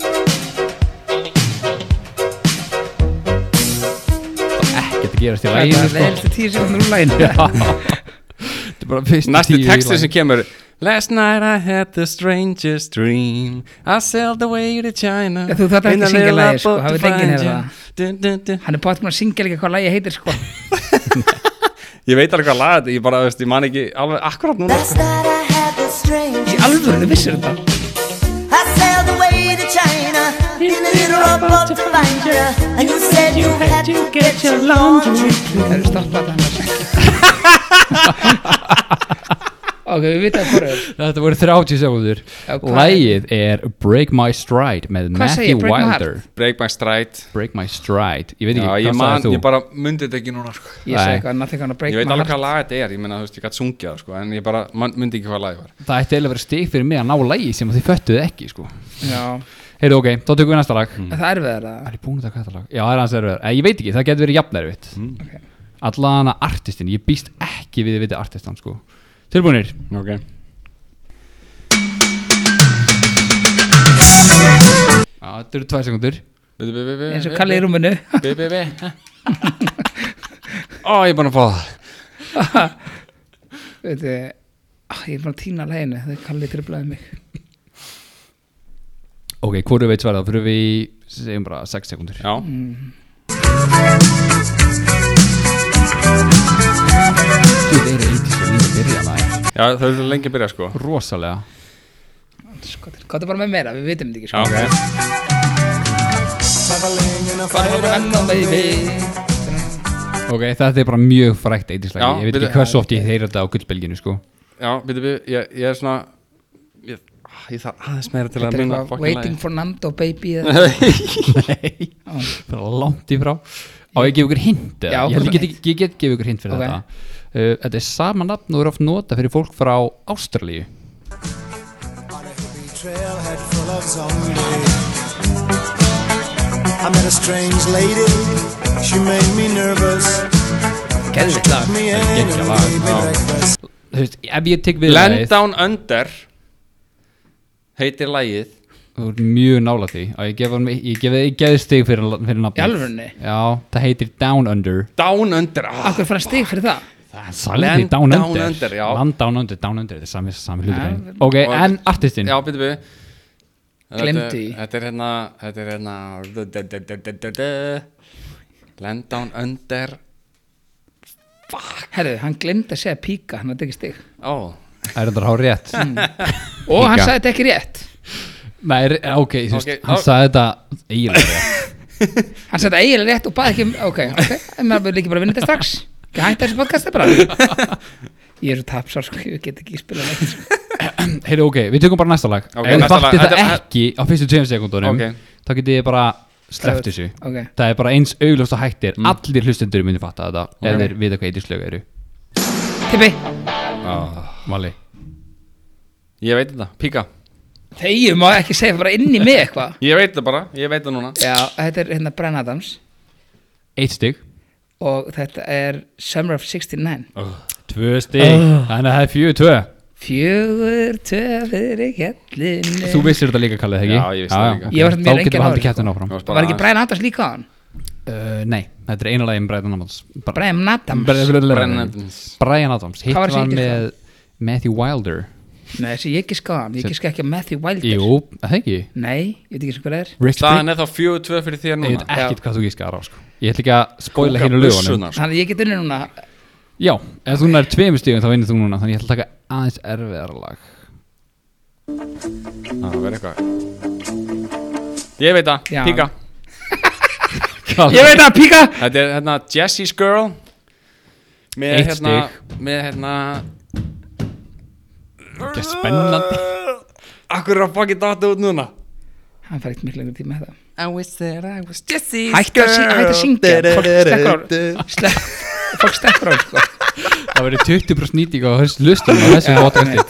Speaker 1: Ekkert að gerast í
Speaker 3: það
Speaker 1: laginu
Speaker 3: er
Speaker 1: sko
Speaker 3: leðilstu tíu sekundur úr læginu
Speaker 2: Næsti texti sem kemur Last night I had the strangest dream I sailed away to China
Speaker 3: Já, þú þarft ekki
Speaker 2: in a
Speaker 3: að syngja
Speaker 2: little
Speaker 3: lagið, sko,
Speaker 2: boat
Speaker 3: það
Speaker 2: to
Speaker 3: vill
Speaker 2: find
Speaker 3: enginn heyra
Speaker 2: you. Dun, dun, dun.
Speaker 3: Hann er bátt með að syngja líka hvað lagi heitir sko
Speaker 2: Ég veit alveg hvað laga þetta, ég bara, veist, ég man ekki alveg akkurat núna
Speaker 4: Last night I had the strange
Speaker 3: Í alvöru, þau vissir þetta
Speaker 4: I sailed away to China In a little rowboat to find you And you said you had to get your laundry
Speaker 3: Það eru stoppað hann Ok, við vitum hvað er
Speaker 1: Þetta voru 30 sekundur
Speaker 3: Já, hvað-
Speaker 1: Lægið er Break My Stride með
Speaker 3: Hvað
Speaker 1: Matthew
Speaker 3: segir Break My
Speaker 1: Wilder
Speaker 2: Break my stride
Speaker 1: Break My Stride Ég veit ekki,
Speaker 2: Já,
Speaker 1: hvað
Speaker 2: ég man,
Speaker 1: sagði þú?
Speaker 2: ég bara myndi þetta ekki núna sko.
Speaker 3: Ég segi
Speaker 1: Nei.
Speaker 3: eitthvað, nothing gonna break
Speaker 2: Ég veit
Speaker 3: my
Speaker 2: alveg
Speaker 3: heart
Speaker 2: hvað laga þetta er, ég meina, þú veist, ég gætt sungja það, sko, en ég bara man, myndi ekki hvað laga var
Speaker 1: Það ætti eiginlega að vera stig fyrir mig að ná lægi sem þið föttuðu ekki sko.
Speaker 3: Já,
Speaker 1: Heyrðu ok, þá tökum við næsta lag
Speaker 2: Mm.
Speaker 3: en það er við það
Speaker 1: Er ég búin að taka þetta lag? Já, það er hans erfiðar Eh, Ég veit ekki, það getur verið jafnærfitt mm.
Speaker 3: Ok.
Speaker 1: Allan að artistin, ég býst ekki við að vita artistan sko. Tilbúinir
Speaker 2: okay.
Speaker 1: Já, Þetta eru tvær sekundur
Speaker 2: Bi- bi- bi- bi-
Speaker 3: Eins og
Speaker 2: bi-
Speaker 3: Kalli í rúminu
Speaker 2: bi- bi- bi- Ó, ég er búin að fá það
Speaker 3: Veitu, ah, Ég er bara að týna læginu Þau Kalli tripplaði mig
Speaker 1: Ok, hvoru veit svarað, fyrir við í, segjum bara 6 sekundur
Speaker 2: Já,
Speaker 1: Þú eru eitthvað svo líka að byrja maður.
Speaker 2: Já þau eru lengi að byrja, sko
Speaker 1: Rosalega
Speaker 3: Skotir, Hvað er Sko, bara með meira, við vitum þetta ekki
Speaker 2: Já,
Speaker 3: sko
Speaker 2: okay.
Speaker 3: Hvað er bara með meira
Speaker 1: Ok, þetta er bara mjög frækt
Speaker 2: Já,
Speaker 1: eitthvað Ég veit
Speaker 2: byrju-
Speaker 1: ekki hversu oft ég heyra þetta á gullbelginu sko.
Speaker 2: Já, byrju, byrju, ég, ég er svona ég, ah, ég þarf aðeins meira til að
Speaker 3: Þetta er
Speaker 2: minna
Speaker 3: eitthvað Waiting for Nando baby eða-
Speaker 1: Nei, það er langt í frá Á ég að gefa ykkur hint eða?
Speaker 3: Já,
Speaker 1: Ég, held ég,
Speaker 3: komdu
Speaker 1: get, ég get gefa ykkur hint fyrir
Speaker 3: Ok.
Speaker 1: þetta uh, Þetta er sama nafn og er oft nota fyrir fólk frá Ástralíu
Speaker 5: On a hippie trailhead full of zombies. I met a strange lady, she made me nervous.
Speaker 3: Geðveikt lag.
Speaker 5: Me in and
Speaker 1: geggjað
Speaker 5: gave me breakfast.
Speaker 1: Þú veist, ef ég tek við
Speaker 2: Land
Speaker 1: lagið,
Speaker 2: Down Under heitir lagið
Speaker 1: Þú er mjög nála því Á ég gefa, honum- ég gefa, ég gefa stig fyrir, fyrir nafn
Speaker 3: Í alvörunni?
Speaker 1: Já, það heitir Down Under
Speaker 2: Down Under ah,
Speaker 3: Akkur fann stig fyrir það
Speaker 1: Það sagði
Speaker 2: Land
Speaker 1: Down
Speaker 2: Down
Speaker 1: Under,
Speaker 2: Under, já.
Speaker 1: Land Down Under, Down Under Þetta er sami, sami
Speaker 3: Ja,
Speaker 1: hlutur Ok,
Speaker 2: og-
Speaker 1: en artistinn
Speaker 2: Já, byrju, byrju Þetta-
Speaker 3: Gleymdi því.
Speaker 2: Þetta er hérna Þetta er hérna du- du- du- du- du- du- du. Land Down Under
Speaker 3: Herðu, hann glemd að segja píka, hann hafði ekki stig
Speaker 2: Ó,
Speaker 1: Það er þetta hár rétt
Speaker 3: Og hann
Speaker 1: Píka.
Speaker 3: sagði þetta ekki rétt
Speaker 1: Nei, er- eh, ok, þú veist,
Speaker 2: Ok,
Speaker 1: hann
Speaker 2: þá-
Speaker 1: sagði þetta eiginlega rétt.
Speaker 3: Hann sagði þetta eiginlega rétt og baði ekki um Ok, ok, en maður verður líka bara að vinna þetta strax Ekki hætta þessu podcasti bara Ég er svo tapsar sko, ég get ekki spilað neitt sko.
Speaker 1: Heyri, ok, við tökum bara næsta lag
Speaker 2: Ok,
Speaker 1: Ef við
Speaker 2: næsta lag.
Speaker 1: fatti þetta
Speaker 2: Þetta-
Speaker 1: ekki á fyrstu tveim sekundunum
Speaker 2: Ok.
Speaker 1: þá getið ég bara sleppt þessu
Speaker 3: Ok,
Speaker 1: Það er bara eins augljóst að hættir mm. Allir hlustendur myndir fatta þetta Ef þeir vita hvað eitthvað slög eru
Speaker 3: tippi
Speaker 1: Mali
Speaker 2: Ég veit þetta, píka
Speaker 3: Þegar má ekki segja bara inn í mig eitthvað
Speaker 2: Ég veit þetta bara, ég veit það núna
Speaker 3: Já, þetta er hérna Brenn Adams
Speaker 1: Eitt stygg
Speaker 3: og þetta er Summer of 69
Speaker 1: Tvö stygg Þannig að það er fjögur tvö
Speaker 3: Fjögur töfur í kjallinu
Speaker 1: Þú vissir þetta líka kallið ekki
Speaker 2: Já, ég
Speaker 1: Já,
Speaker 2: vissi það
Speaker 1: já,
Speaker 2: líka.
Speaker 1: ok.
Speaker 3: Eh. Ég var samt
Speaker 1: Þá
Speaker 3: mér engin
Speaker 1: getum við haldið
Speaker 3: ári,
Speaker 1: kæftin áfram
Speaker 2: Ég
Speaker 3: Var ekki
Speaker 2: bara
Speaker 3: Brenn Adams líka á hann?
Speaker 1: uh, Nei, þetta er eina lagi um Brian Adams Bra-
Speaker 3: Brenn Adams
Speaker 2: Brennan
Speaker 1: Brian
Speaker 2: Adams.
Speaker 1: Brian Adams Hitt
Speaker 3: Hvað var
Speaker 1: var
Speaker 3: þessi
Speaker 1: hann
Speaker 3: hitt
Speaker 1: með Matthew Wilder
Speaker 3: Nei, þessi ég ekki skáðan, ég ekki ekki á Matthew Wilder
Speaker 1: Jú, það ekki
Speaker 3: Nei, ég veit ekki sem hver er
Speaker 1: Rick
Speaker 2: Staðan
Speaker 1: Brick
Speaker 2: er þá 4-2 fyrir
Speaker 1: Ég
Speaker 2: þér
Speaker 1: veit
Speaker 2: núna
Speaker 1: ekkert hvað þú gískar á sko. Ég ætla ekki að spoila hérna lögunum
Speaker 2: Bussurnar, sko.
Speaker 3: Þannig að ég get unni núna
Speaker 1: Já, ef þú nær tveimur stíðum þá vinnir þú núna Þannig ég ætla að taka aðeins erfiðara lag
Speaker 2: Það verður eitthvað Ég veit það,
Speaker 3: Já.
Speaker 2: píka
Speaker 3: Ég veit að píka
Speaker 2: Þetta er hérna Jessie's Girl Með
Speaker 1: Eitt
Speaker 2: hérna Með hérna
Speaker 1: Þetta er spennandi
Speaker 2: Akkur er að fokkin data út núna
Speaker 3: Hann fær ekkert miklu lengur tíma með það
Speaker 2: I wish that I was Jessie's
Speaker 3: Hætti að, sy- hættu að syngja Fólk stekkur á slepp- Fólk stekkur á hann, sko
Speaker 1: Það verður 20% nýting á þessu lustum á þessu podcasti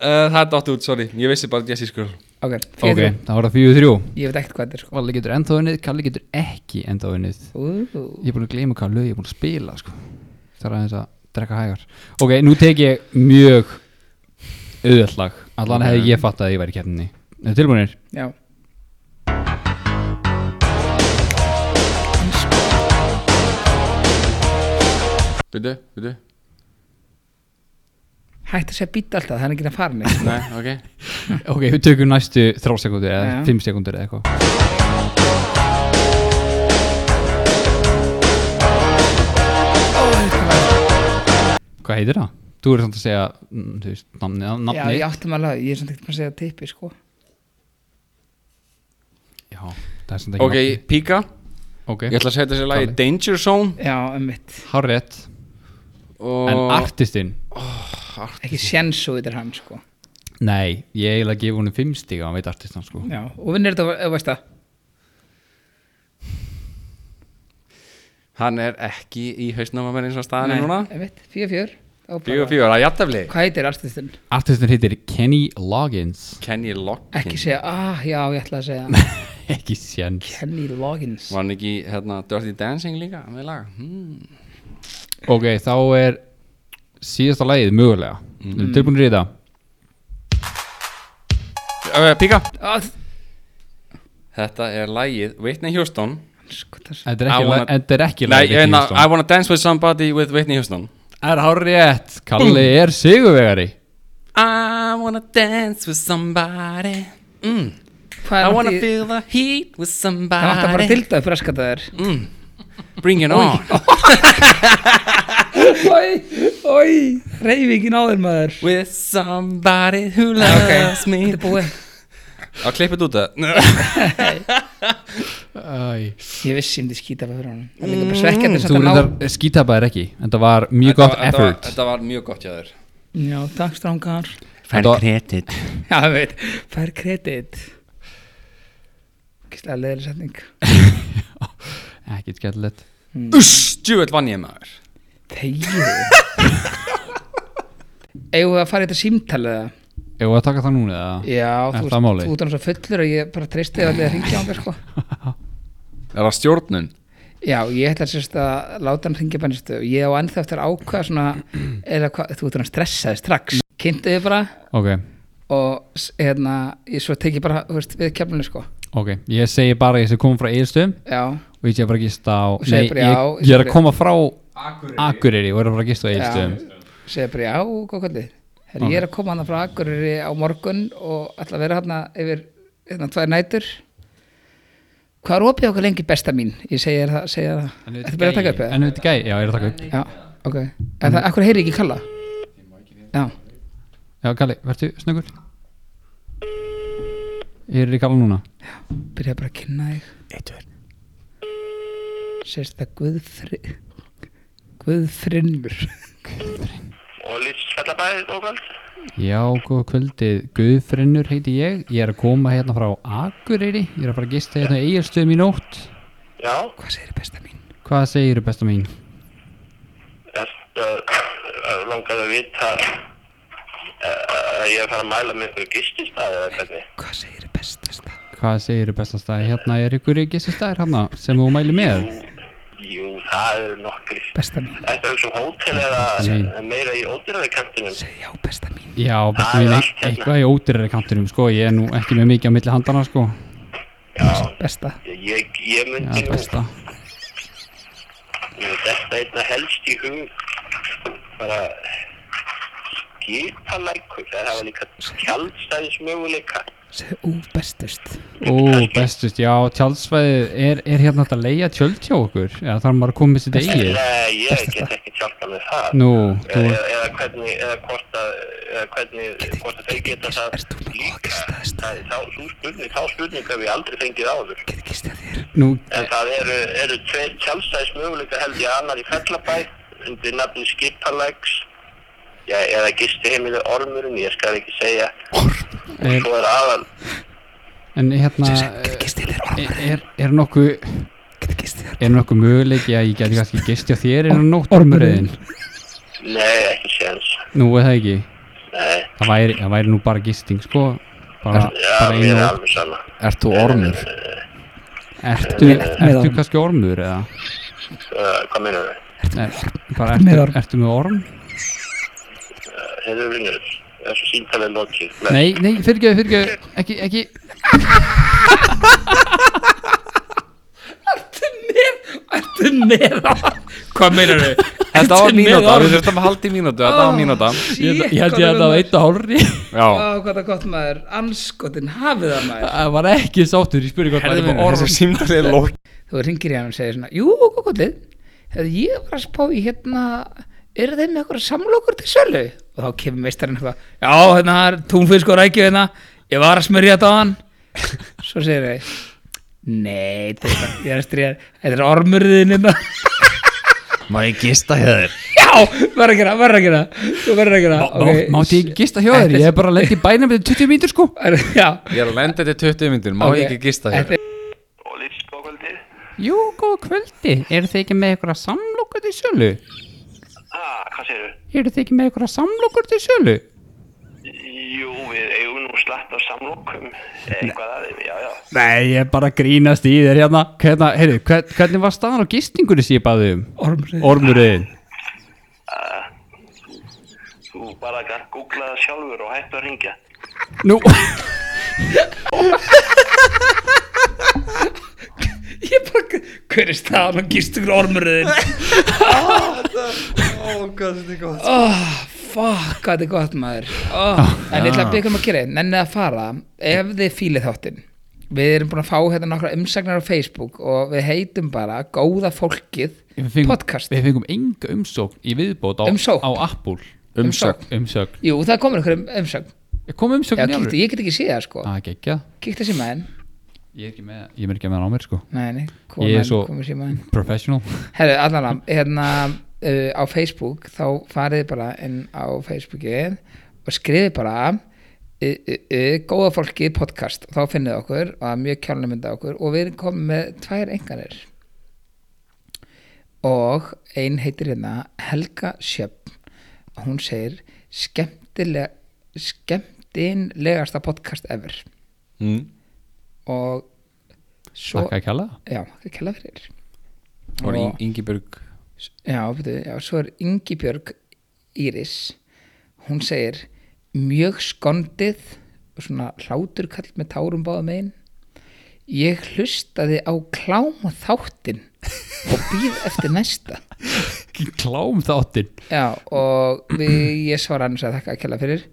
Speaker 2: uh, Það data út, sorry Ég vissi bara Jessie's Girl
Speaker 3: Ok,
Speaker 1: Ok,
Speaker 3: fyrir
Speaker 1: það var það 4-3
Speaker 3: Ég veit ekkert hvað þetta er sko
Speaker 1: Valli getur ennþá unnið, Kalli getur ekki ennþá unnið
Speaker 3: Ú,
Speaker 1: Ég er búin að gleyma hvað lög ég er búin að spila sko. Það er aðeins að drekka hægar Ok, nú tek ég mjög auðvöld lag Allan hefði ég fatt að ég væri kemni Tilbúinir?
Speaker 3: Já
Speaker 2: Byrju, byrju
Speaker 3: Hætti að segja býta alltaf, það er ekki að fara neitt sko.
Speaker 2: Nei, ok
Speaker 1: Ok, við tökum næstu 3 sekundur eða
Speaker 3: Já.
Speaker 1: 5 sekundur eða eitthvað Hvað heitir það? Þú er samt að segja mm, þú veist, nafni,
Speaker 3: Já,
Speaker 1: nafni.
Speaker 3: ég áttum að laga, ég er samt ekkert maður að segja tippi sko
Speaker 1: Já, það er samt ekki
Speaker 2: Ok, píka
Speaker 1: nafni Ok,
Speaker 2: Ég ætla að setja sér lagi
Speaker 1: Kalli.
Speaker 2: Danger Zone
Speaker 3: Já, um mitt,
Speaker 1: hárrétt
Speaker 2: og...
Speaker 1: En artistinn
Speaker 3: ekki sjensu þetta er hann sko
Speaker 1: Nei, ég eiginlega gef húnum fimm stíga hann veit artistan sko
Speaker 3: Já, og vinnir þetta, ef þú veist það
Speaker 2: Hann er ekki í hausnum að mér eins og staðan er núna
Speaker 3: um mitt, fjör fjör þá bara-
Speaker 2: Fjögur, fjögur, að jættafli
Speaker 3: Hvað heitir artistinn?
Speaker 1: Artistin heitir Kenny Loggins
Speaker 2: Kenny Loggins
Speaker 3: Ekki segja, ah, já, ég ætla að segja
Speaker 1: Ekki séns
Speaker 3: Kenny Loggins
Speaker 2: Var hann ekki, hérna, Dirty Dancing líka með lag hmm.
Speaker 1: Ok, þá er síðasta lagið mögulega mm. Erum tilbúinir í það?
Speaker 2: uh, Píka
Speaker 3: Ah,
Speaker 2: Þetta er lagið Whitney Houston
Speaker 3: sko, það
Speaker 1: Þetta er
Speaker 2: I
Speaker 3: er-
Speaker 1: ekki,
Speaker 2: wanna-
Speaker 1: wanna... þetta er ekki
Speaker 2: Nei,
Speaker 1: lagið
Speaker 2: ég
Speaker 1: Whitney
Speaker 2: veina I
Speaker 1: Houston.
Speaker 2: wanna dance with somebody with Whitney Houston
Speaker 1: Það er hárrétt Kalli er sigurvegari
Speaker 2: I wanna dance with somebody mm.
Speaker 3: Hvað
Speaker 2: I
Speaker 3: er
Speaker 2: wanna
Speaker 3: langt í-
Speaker 2: feel the heat with
Speaker 3: Það vantar bara
Speaker 2: somebody
Speaker 3: tildaði fyrir askata þér
Speaker 2: Mm. Bring it on
Speaker 3: Oi, oi, reyfingin á þér maður
Speaker 2: With somebody who
Speaker 3: Ok,
Speaker 2: loves me
Speaker 3: þetta er búið
Speaker 2: Að klippa þetta út það
Speaker 1: Æ.
Speaker 3: Ég vissi um því skýta bara fyrir honum Það er líka
Speaker 2: Mm,
Speaker 3: bara svekkjandi
Speaker 1: Þú
Speaker 3: samt að ná
Speaker 1: reyndar skítabaðir ekki En það var mjög
Speaker 2: Þetta
Speaker 1: gott
Speaker 2: var- þetta var-
Speaker 1: effort
Speaker 2: Þetta var mjög gott hjá þér
Speaker 3: Já, takk strángar
Speaker 1: Fær Þetta var-
Speaker 2: kredit
Speaker 3: Já, ég veit, fær kredit Gíslega leðileg setning
Speaker 1: Ekki skellilegt
Speaker 2: Uss, djúvel vann ég maður
Speaker 3: Þegið Eigum við að fara í þetta símtalið eða?
Speaker 1: Ef við að taka það núna eða?
Speaker 3: Já,
Speaker 1: Er
Speaker 3: þú
Speaker 1: það málið?
Speaker 3: þú ert hann svo fullur og ég bara treysti þig allir að ringja á mér sko
Speaker 2: Er það stjórnun?
Speaker 3: Já, ég ætla sérst að láta hann ringja bænistu og ég á ennþá eftir að ákveða svona eða hvað, þú ert hann stressaði strax kynntu þig bara
Speaker 1: Ok,
Speaker 3: og s- hérna, ég svo teki bara þú veist, við kemlunni sko
Speaker 1: ok Ég segi bara að ég sem kom frá Egilstöðum
Speaker 3: Já,
Speaker 1: og ég sé bara að gista á
Speaker 3: Og
Speaker 1: Nei,
Speaker 3: segir
Speaker 1: ég,
Speaker 3: bara já,
Speaker 1: ég er
Speaker 3: segir-
Speaker 1: að koma frá Akureyri og er að fara að gista á Egilstöðum
Speaker 3: segja bara já, góð kvöldi Her, ég er að koma hann frá Akureyri á morgun og ætla að vera hann yfir hérna, tvær nætur hvað er opið okkur lengi besta mín ég segja þér það, segja þér það Ertu byrjað að taka upp eða?
Speaker 1: En þetta gæi, já, ég er að taka upp
Speaker 3: Já, ok, en það, akkur heyri ekki kalla já,
Speaker 1: Já, Kalli, vertu snöggur Ég er í Kalla núna
Speaker 3: byrja bara að kynna þig eitt verð sérst það Guðfrið Guðfrinnur
Speaker 6: og lýtsfellabæði bókald
Speaker 1: Já, góða kvöldið, Guðfrinnur heiti ég Ég er að koma hérna frá Akureyri Ég er að fara að gista hérna eiginstöðum í nótt
Speaker 6: já,
Speaker 3: Hvað segir besta mín?
Speaker 1: Hvað segirðu besta mín?
Speaker 6: þetta uh, langar að vita uh, að ég er að fara að mæla með einhverju gististæði eða hvernig
Speaker 3: Hvað segir besta stað?
Speaker 1: Hvað segirðu besta staði? Hérna er ykkur ekki þessi staðir hérna sem þú mæli með
Speaker 6: jú, það er nokkur
Speaker 3: Besta mín,
Speaker 6: Þetta er hugsa um hótel
Speaker 1: Nei.
Speaker 6: eða meira í ódýrari kantinum
Speaker 3: segir já besta mín
Speaker 1: Já, besta mín, e- eitthvað í ódýrari kantinum sko Ég er nú ekki með mikið á milli handana sko
Speaker 3: Besta,
Speaker 6: Ég, ég
Speaker 1: Já,
Speaker 6: myndi nú,
Speaker 1: besta
Speaker 6: nú þetta einna helst í hug bara skipalækur, það hafa líka tjaldstæðismöguleika
Speaker 3: segir ú bestust
Speaker 1: Ó, bestust, já, tjálsvæðið er, er hérna hægt að leia tjöld hjá okkur Eða þarf maður að koma með sitt eigið
Speaker 6: Nei, ég get ekki tjálka með það
Speaker 1: Nú, þú,
Speaker 6: eða, eða hvernig, eða hvort að eða hvernig, hvort að þau geta það
Speaker 3: Ert þú með
Speaker 6: líka
Speaker 3: ógistaðist?
Speaker 6: það er þá sú spurning, þá spurning hef ég aldrei fengið áður
Speaker 3: Getur gist að þér
Speaker 1: nú,
Speaker 6: en það eru, eru tveir tjálstæðismöguleika held ég annar í Fellabæ undir nafni Skipalæks já, eða gisti heimilu Ormurinn ég skal ekki segja
Speaker 1: er,
Speaker 6: svo er aðal
Speaker 1: en hérna
Speaker 3: Getur gist að þér
Speaker 1: Er, er, er nokkuð
Speaker 3: Getur gist að þér
Speaker 1: er nokku möguleiki að ég geti kannski gistja þér innan nótt ormurriðin
Speaker 6: nei, ekki séns
Speaker 1: nú er það ekki
Speaker 6: nei,
Speaker 1: það væri, það væri nú bara gisting sko bara,
Speaker 6: já,
Speaker 1: bara
Speaker 6: mér
Speaker 1: einu
Speaker 6: er
Speaker 1: orm
Speaker 6: alveg sama
Speaker 7: Ert þú ormur?
Speaker 1: ertu,
Speaker 3: Með- með
Speaker 1: ertu
Speaker 3: orm.
Speaker 1: kannski ormur eða
Speaker 6: uh, hvað minnum við?
Speaker 1: er, bara ertu,
Speaker 3: með orm.
Speaker 1: ertu með orm
Speaker 6: heyrðu vinnur, þessu síntalið lokið Nei,
Speaker 1: nei, nei, fyrirgeðu, fyrirgeðu ekki, ekki
Speaker 3: Ertu með á Hvað meinar þau?
Speaker 2: Þetta var mínúta, við þurfum að halda í mínúta Þetta var mínúta
Speaker 1: ég held ég að það var eitt og hálfri
Speaker 2: Já,
Speaker 3: Ó, hvað það gott maður, anskotin hafið það maður
Speaker 1: það var ekki sáttur, ég spurði hvað
Speaker 2: þetta
Speaker 1: það
Speaker 2: er
Speaker 1: var
Speaker 2: bara orð og
Speaker 1: orm
Speaker 2: símtalið er lók
Speaker 3: Þú ringir í hann og segir svona Jú, hvað gotið, hefði ég var að spá í hérna eru þeim með eitthvað samlokur til sölu og þá kemur meistarinn eitthvað Já, hérna, það er túnfisk og rækju hérna ég var að smyrja þetta á hann Svo segir þau Nei, þetta er- ég er að stríða Þetta er ormurðin hérna
Speaker 7: Má ég gista hér?
Speaker 3: Já, verður að gera, verður að gera Þú verður að gera
Speaker 1: okay. mátti ég gista hjá þér, ég er bara að lendi í bænum með 20 mínútur sko
Speaker 3: ég Já
Speaker 2: Ég er að lenda þetta í 20 myndir, má ég ekki gista hér?
Speaker 6: og lýtsbókaldið
Speaker 1: jú, góða kvöldi, eru þið ekki með eitthvað samlokur til sölu?
Speaker 6: ah, hvað segirðu?
Speaker 1: Eru þið ekki með eitthvað samlokur til sölu?
Speaker 6: Jú, við eigum nú slatt af samlokum eitthvað aðeins, já, já
Speaker 1: Nei, ég er bara að grínast í þér hérna Hvernig, heyri, hvern, hvernig var staðan á gistingunni sem ég baði um?
Speaker 3: Ormurðin
Speaker 1: Ormurriðin
Speaker 6: Þú bara gætt googlaða sjálfur og hættu að ringja
Speaker 1: Nú,
Speaker 3: Ég bara, hver er staðan og gistur ormurðin? Ó, hvað þetta er gott Ó, fuck, hvað þetta er gott maður Ó, En ég ætla að byggja um að gera einn Nennið að fara, ef þið fílið þáttinn Við erum búin að fá hérna nokkra umsagnar á Facebook og við heitum bara Góða fólkið
Speaker 1: við fengum,
Speaker 3: podcast
Speaker 1: við fengum enga umsókn í viðbót á,
Speaker 3: Umsókn?
Speaker 1: á Apple
Speaker 3: Umsókn.
Speaker 1: Umsókn
Speaker 3: Jú, það er komin einhver um, umsagn
Speaker 1: Ég Kom
Speaker 3: Já,
Speaker 1: umsókn í
Speaker 3: kíkti,
Speaker 1: alveg?
Speaker 3: ég get ekki séð það sko
Speaker 1: Það er geggjað
Speaker 3: Kíkti að símaðin
Speaker 1: Ég er ekki með, ég er ekki með hann á mér sko
Speaker 3: Nei, nei,
Speaker 1: Ég
Speaker 3: komin,
Speaker 1: er svo-
Speaker 3: komin símaðin
Speaker 1: Professional
Speaker 3: Herru, allan að hérna uh, á Facebook þá farið bara inn á Facebookið og skrifið bara uh, uh, uh, góða fólkið podcast og þá finnið þið okkur og það er mjög kjálnum mynda okkur og við erum komið með tvær enganir og ein heitir hérna Helga Sjöfn og hún segir skemmtilega skemmtilegasta podcast ever
Speaker 2: Mm.
Speaker 3: og svo
Speaker 1: Takk að kalla
Speaker 3: já, ekki kella fyrir
Speaker 2: Það var Ingiburg
Speaker 3: Já, betur, já, svo er Ingibjörg Íris hún segir mjög skondið og svona hláturkall með tárum báðum einn ég hlustaði á kláma þáttin og býð eftir næsta
Speaker 1: Klám þáttinn
Speaker 3: já, og við, ég svara annars að þakka að kella fyrir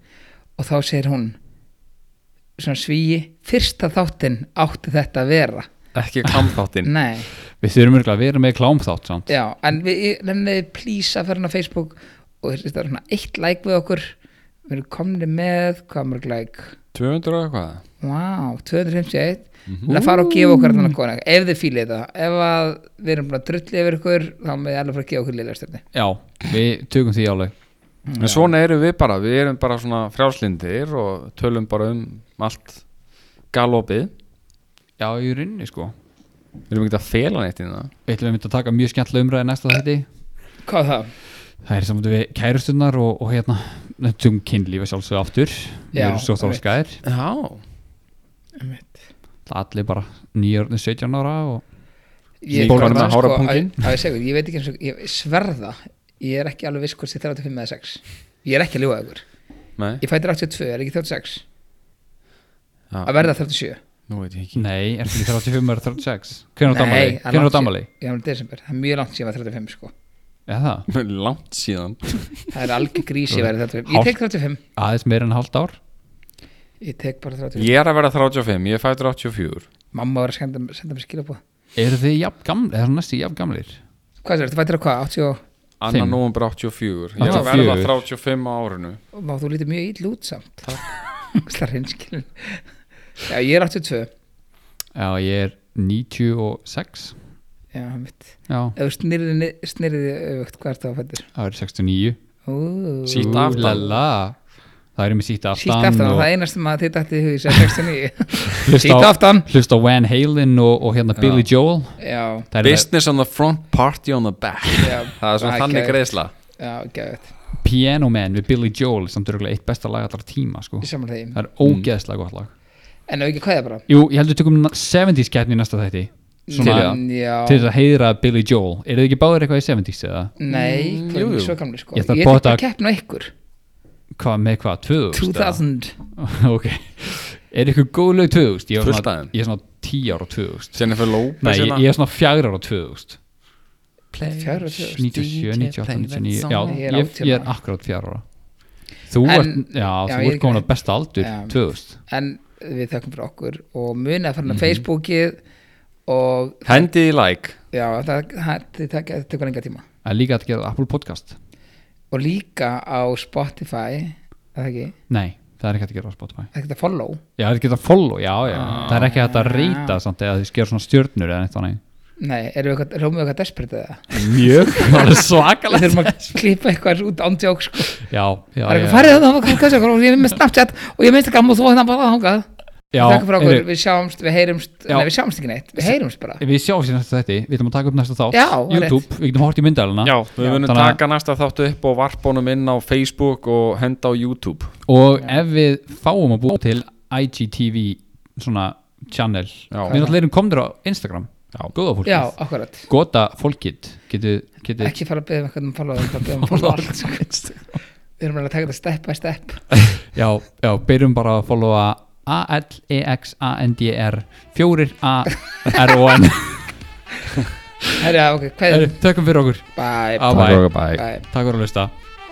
Speaker 3: og þá segir hún svona svíi fyrsta þáttin átti þetta að vera
Speaker 2: Ekki
Speaker 1: Mm.
Speaker 2: klamþáttinn
Speaker 3: nei
Speaker 1: Við þurfum örugglega að vera með klám þátt samt
Speaker 3: Já, en við nefnum þið please að fara inn á Facebook og þetta er svona eitt like við okkur við erum komni með, hvað mörg like
Speaker 2: 200 og eitthvað
Speaker 3: Vá, 251 Það fara og gefa okkur þannig kona Ef þið fílið það Ef að við erum bara drulli yfir ykkur Þá með ég alveg fara að gefa okkur liðlega stefni
Speaker 1: Já, við tökum því áleg Mm,
Speaker 2: En svona erum við bara, við erum bara svona frjálslindir og tölum bara um allt galopið
Speaker 1: Já, í rauninni sko
Speaker 2: Við erum ekkert að fela neitt í það
Speaker 1: Við ætlum einmitt að taka mjög skemmtilega umræði næsta þetta
Speaker 3: Hvað er það?
Speaker 1: Það er saman við kærustunar og, og hérna við tökum kynlífa sjálfsög aftur Við
Speaker 3: Já,
Speaker 1: erum svo
Speaker 3: einmitt.
Speaker 1: þorskaðir
Speaker 2: Já
Speaker 1: Það er allir bara nýjörnir 17 ára og
Speaker 3: Ég,
Speaker 2: Bólgan með
Speaker 3: að, sko, að,
Speaker 2: hárapunginn.
Speaker 3: að ég, segja, ykkur, ég veit ekki eins og ég sverða Ég er ekki alveg viss hvort ég er 35 eða 6 Ég er ekki að ljúga ykkur
Speaker 2: Nei,
Speaker 3: Ég fættir 82, er ekki 36
Speaker 2: Já.
Speaker 3: Að verða 37
Speaker 2: nú veit ég ekki
Speaker 1: Nei, er fyrir 35 eða 36 Hvernig á damali?
Speaker 3: það er
Speaker 1: Hvernig
Speaker 3: langt
Speaker 1: á damali?
Speaker 3: síðan- Ég er alveg desember, það er mjög langt síðan ég var 35 sko
Speaker 1: Er það?
Speaker 2: Langt síðan
Speaker 3: Það er algjör grís ég verið 35
Speaker 1: Hálft.
Speaker 3: Ég tek 35
Speaker 1: Aðeins meir en hálft ár?
Speaker 3: Ég tek bara 35
Speaker 2: Ég er að vera 35, ég er fættur 84
Speaker 3: Mamma var að senda, senda mér skilabóð
Speaker 1: Eru þið jafn gamlir? Er það næstu jafn gamlir?
Speaker 3: Hvað er þetta, fættir á hvað? 80 og
Speaker 2: Anna
Speaker 1: Fimm.
Speaker 2: nóvember 84 Ég er að
Speaker 1: 84.
Speaker 2: verða 35 á árinu
Speaker 3: og má þú lítið mjög ill út samt Ógeðslega hreinskilin. já, ég er 82
Speaker 1: Já, ég er 96
Speaker 3: já, mitt
Speaker 1: Já,
Speaker 3: ef þú snirði, snirði öfugt hvað er það að fættir
Speaker 1: það er 69
Speaker 3: sítt
Speaker 2: Sítt
Speaker 1: Ú,
Speaker 2: aftan.
Speaker 1: la, la. Það er með síta aftan
Speaker 3: aftan,
Speaker 1: og-
Speaker 3: það er einast sem að þið dætti í hug sem 69
Speaker 1: Hlusta
Speaker 3: Sítt
Speaker 1: á-
Speaker 3: aftan.
Speaker 1: Hlusta á Van Halen og, og hérna Billy Joel
Speaker 3: já,
Speaker 1: Það er
Speaker 2: Business on the front, party on the back
Speaker 3: já
Speaker 2: Það er svona þannig
Speaker 3: geðveikt.
Speaker 2: greiðsla
Speaker 3: já, geðvægt,
Speaker 1: Piano Man við Billy Joel samt örgulega eitt besta lag allra tíma sko.
Speaker 3: ég samar þeim
Speaker 1: Það er ógeðslega gott lag
Speaker 3: en ef ekki hvað er bara
Speaker 1: Jú, ég heldur tökum na- 70s keppni í næsta þætti Svona
Speaker 3: Mm, já,
Speaker 1: til þess að heiðra Billy Joel Eru þið ekki báðir eitthvað í 70s eða?
Speaker 3: nei,
Speaker 2: Mm,
Speaker 3: hvað
Speaker 2: jú,
Speaker 3: er
Speaker 2: jú.
Speaker 3: svo gamli sko
Speaker 1: Ég
Speaker 3: ég
Speaker 1: ætla að
Speaker 3: tek bara
Speaker 1: bóta-
Speaker 3: að keppna á ykkur
Speaker 1: Hvað með hvað? 2000? eða?
Speaker 3: 2000
Speaker 1: ok Er eitthvað góð lög 2000? Ég er
Speaker 2: Fullt af
Speaker 1: svona,
Speaker 2: þeim.
Speaker 1: ég er svona 10 ára 2000
Speaker 2: Jennifer Lopez
Speaker 1: Nei, ég,
Speaker 2: hérna.
Speaker 1: ég er svona 4 ára 2000
Speaker 3: fjara 2000
Speaker 1: 97, 98, 99 Já,
Speaker 3: Ég er
Speaker 1: ég, ég er
Speaker 3: átján.
Speaker 1: akkurat 4 ára Þú
Speaker 3: En-
Speaker 1: ert, já,
Speaker 3: já,
Speaker 1: þú
Speaker 3: ég
Speaker 1: ert komin
Speaker 3: er-
Speaker 1: að besta aldur
Speaker 3: Já.
Speaker 1: 2000
Speaker 3: en við þökkum fyrir okkur og munið að fara
Speaker 1: Mhm.
Speaker 3: á Facebookið og
Speaker 2: Hendið í like
Speaker 3: Já, það, það, það, það, það tekur enga tíma
Speaker 1: Það er líka að gera Apple Podcast
Speaker 3: og líka á Spotify er það ekki,
Speaker 1: Nei, það er ekki hægt að gera á Spotify
Speaker 3: það er ekki að follow
Speaker 1: Já, það er ekki hægt að follow, já, já Það er ekki
Speaker 3: Ah.
Speaker 1: hægt að reyta samt eða þið skera svona stjörnur eða neitt þannig
Speaker 3: Nei, erum við eitthvað, erum við eitthvað desperate eða?
Speaker 1: Mjög, það er
Speaker 3: Við
Speaker 1: svakalegt
Speaker 3: þurfum að klippa eitthvað út ándjók sko.
Speaker 1: Já, já,
Speaker 3: Það er
Speaker 1: já.
Speaker 3: eitthvað farið þarna, hvað- hvað- hvað- ég er með Snapchat og ég minnst ekki að múið þú þannig bara þangað
Speaker 1: já,
Speaker 3: Takk fyrir okkur,
Speaker 1: heyrðu,
Speaker 3: við sjáumst, við heyrumst
Speaker 1: Já.
Speaker 3: Nei, við sjáumst ekki neitt, við heyrumst bara
Speaker 1: Við sjáum sér næsta þetta, við ætlum að taka upp næsta þátt
Speaker 3: Já, það er
Speaker 1: YouTube, við getum hort í myndæluna
Speaker 2: Já, við munum
Speaker 1: Þannig að-
Speaker 2: taka næsta þáttu upp og varpunum inn á Facebook og henda á YouTube
Speaker 1: Og ef við fáum að búa til IGTV svona channel
Speaker 2: Já.
Speaker 1: Við náttúrulega erum komnir á Instagram Já, góða fólkið
Speaker 3: Já, akkurat,
Speaker 1: Góta fólkið, getur, getur
Speaker 3: ekki fara að beða um eitthvað um follow bara beðið um follow allt sko. Við erum alveg að taka þetta step by step
Speaker 1: Já, já, byrjum bara að followa E A-L-E-X-A-N-D-R 4-A-R-O-N
Speaker 3: Herja, ok, hvað
Speaker 1: Tökum fyrir okkur,
Speaker 3: Bye,
Speaker 1: Á, bye.
Speaker 3: bye,
Speaker 2: bye.
Speaker 3: bye.
Speaker 1: takk fyrir að hlusta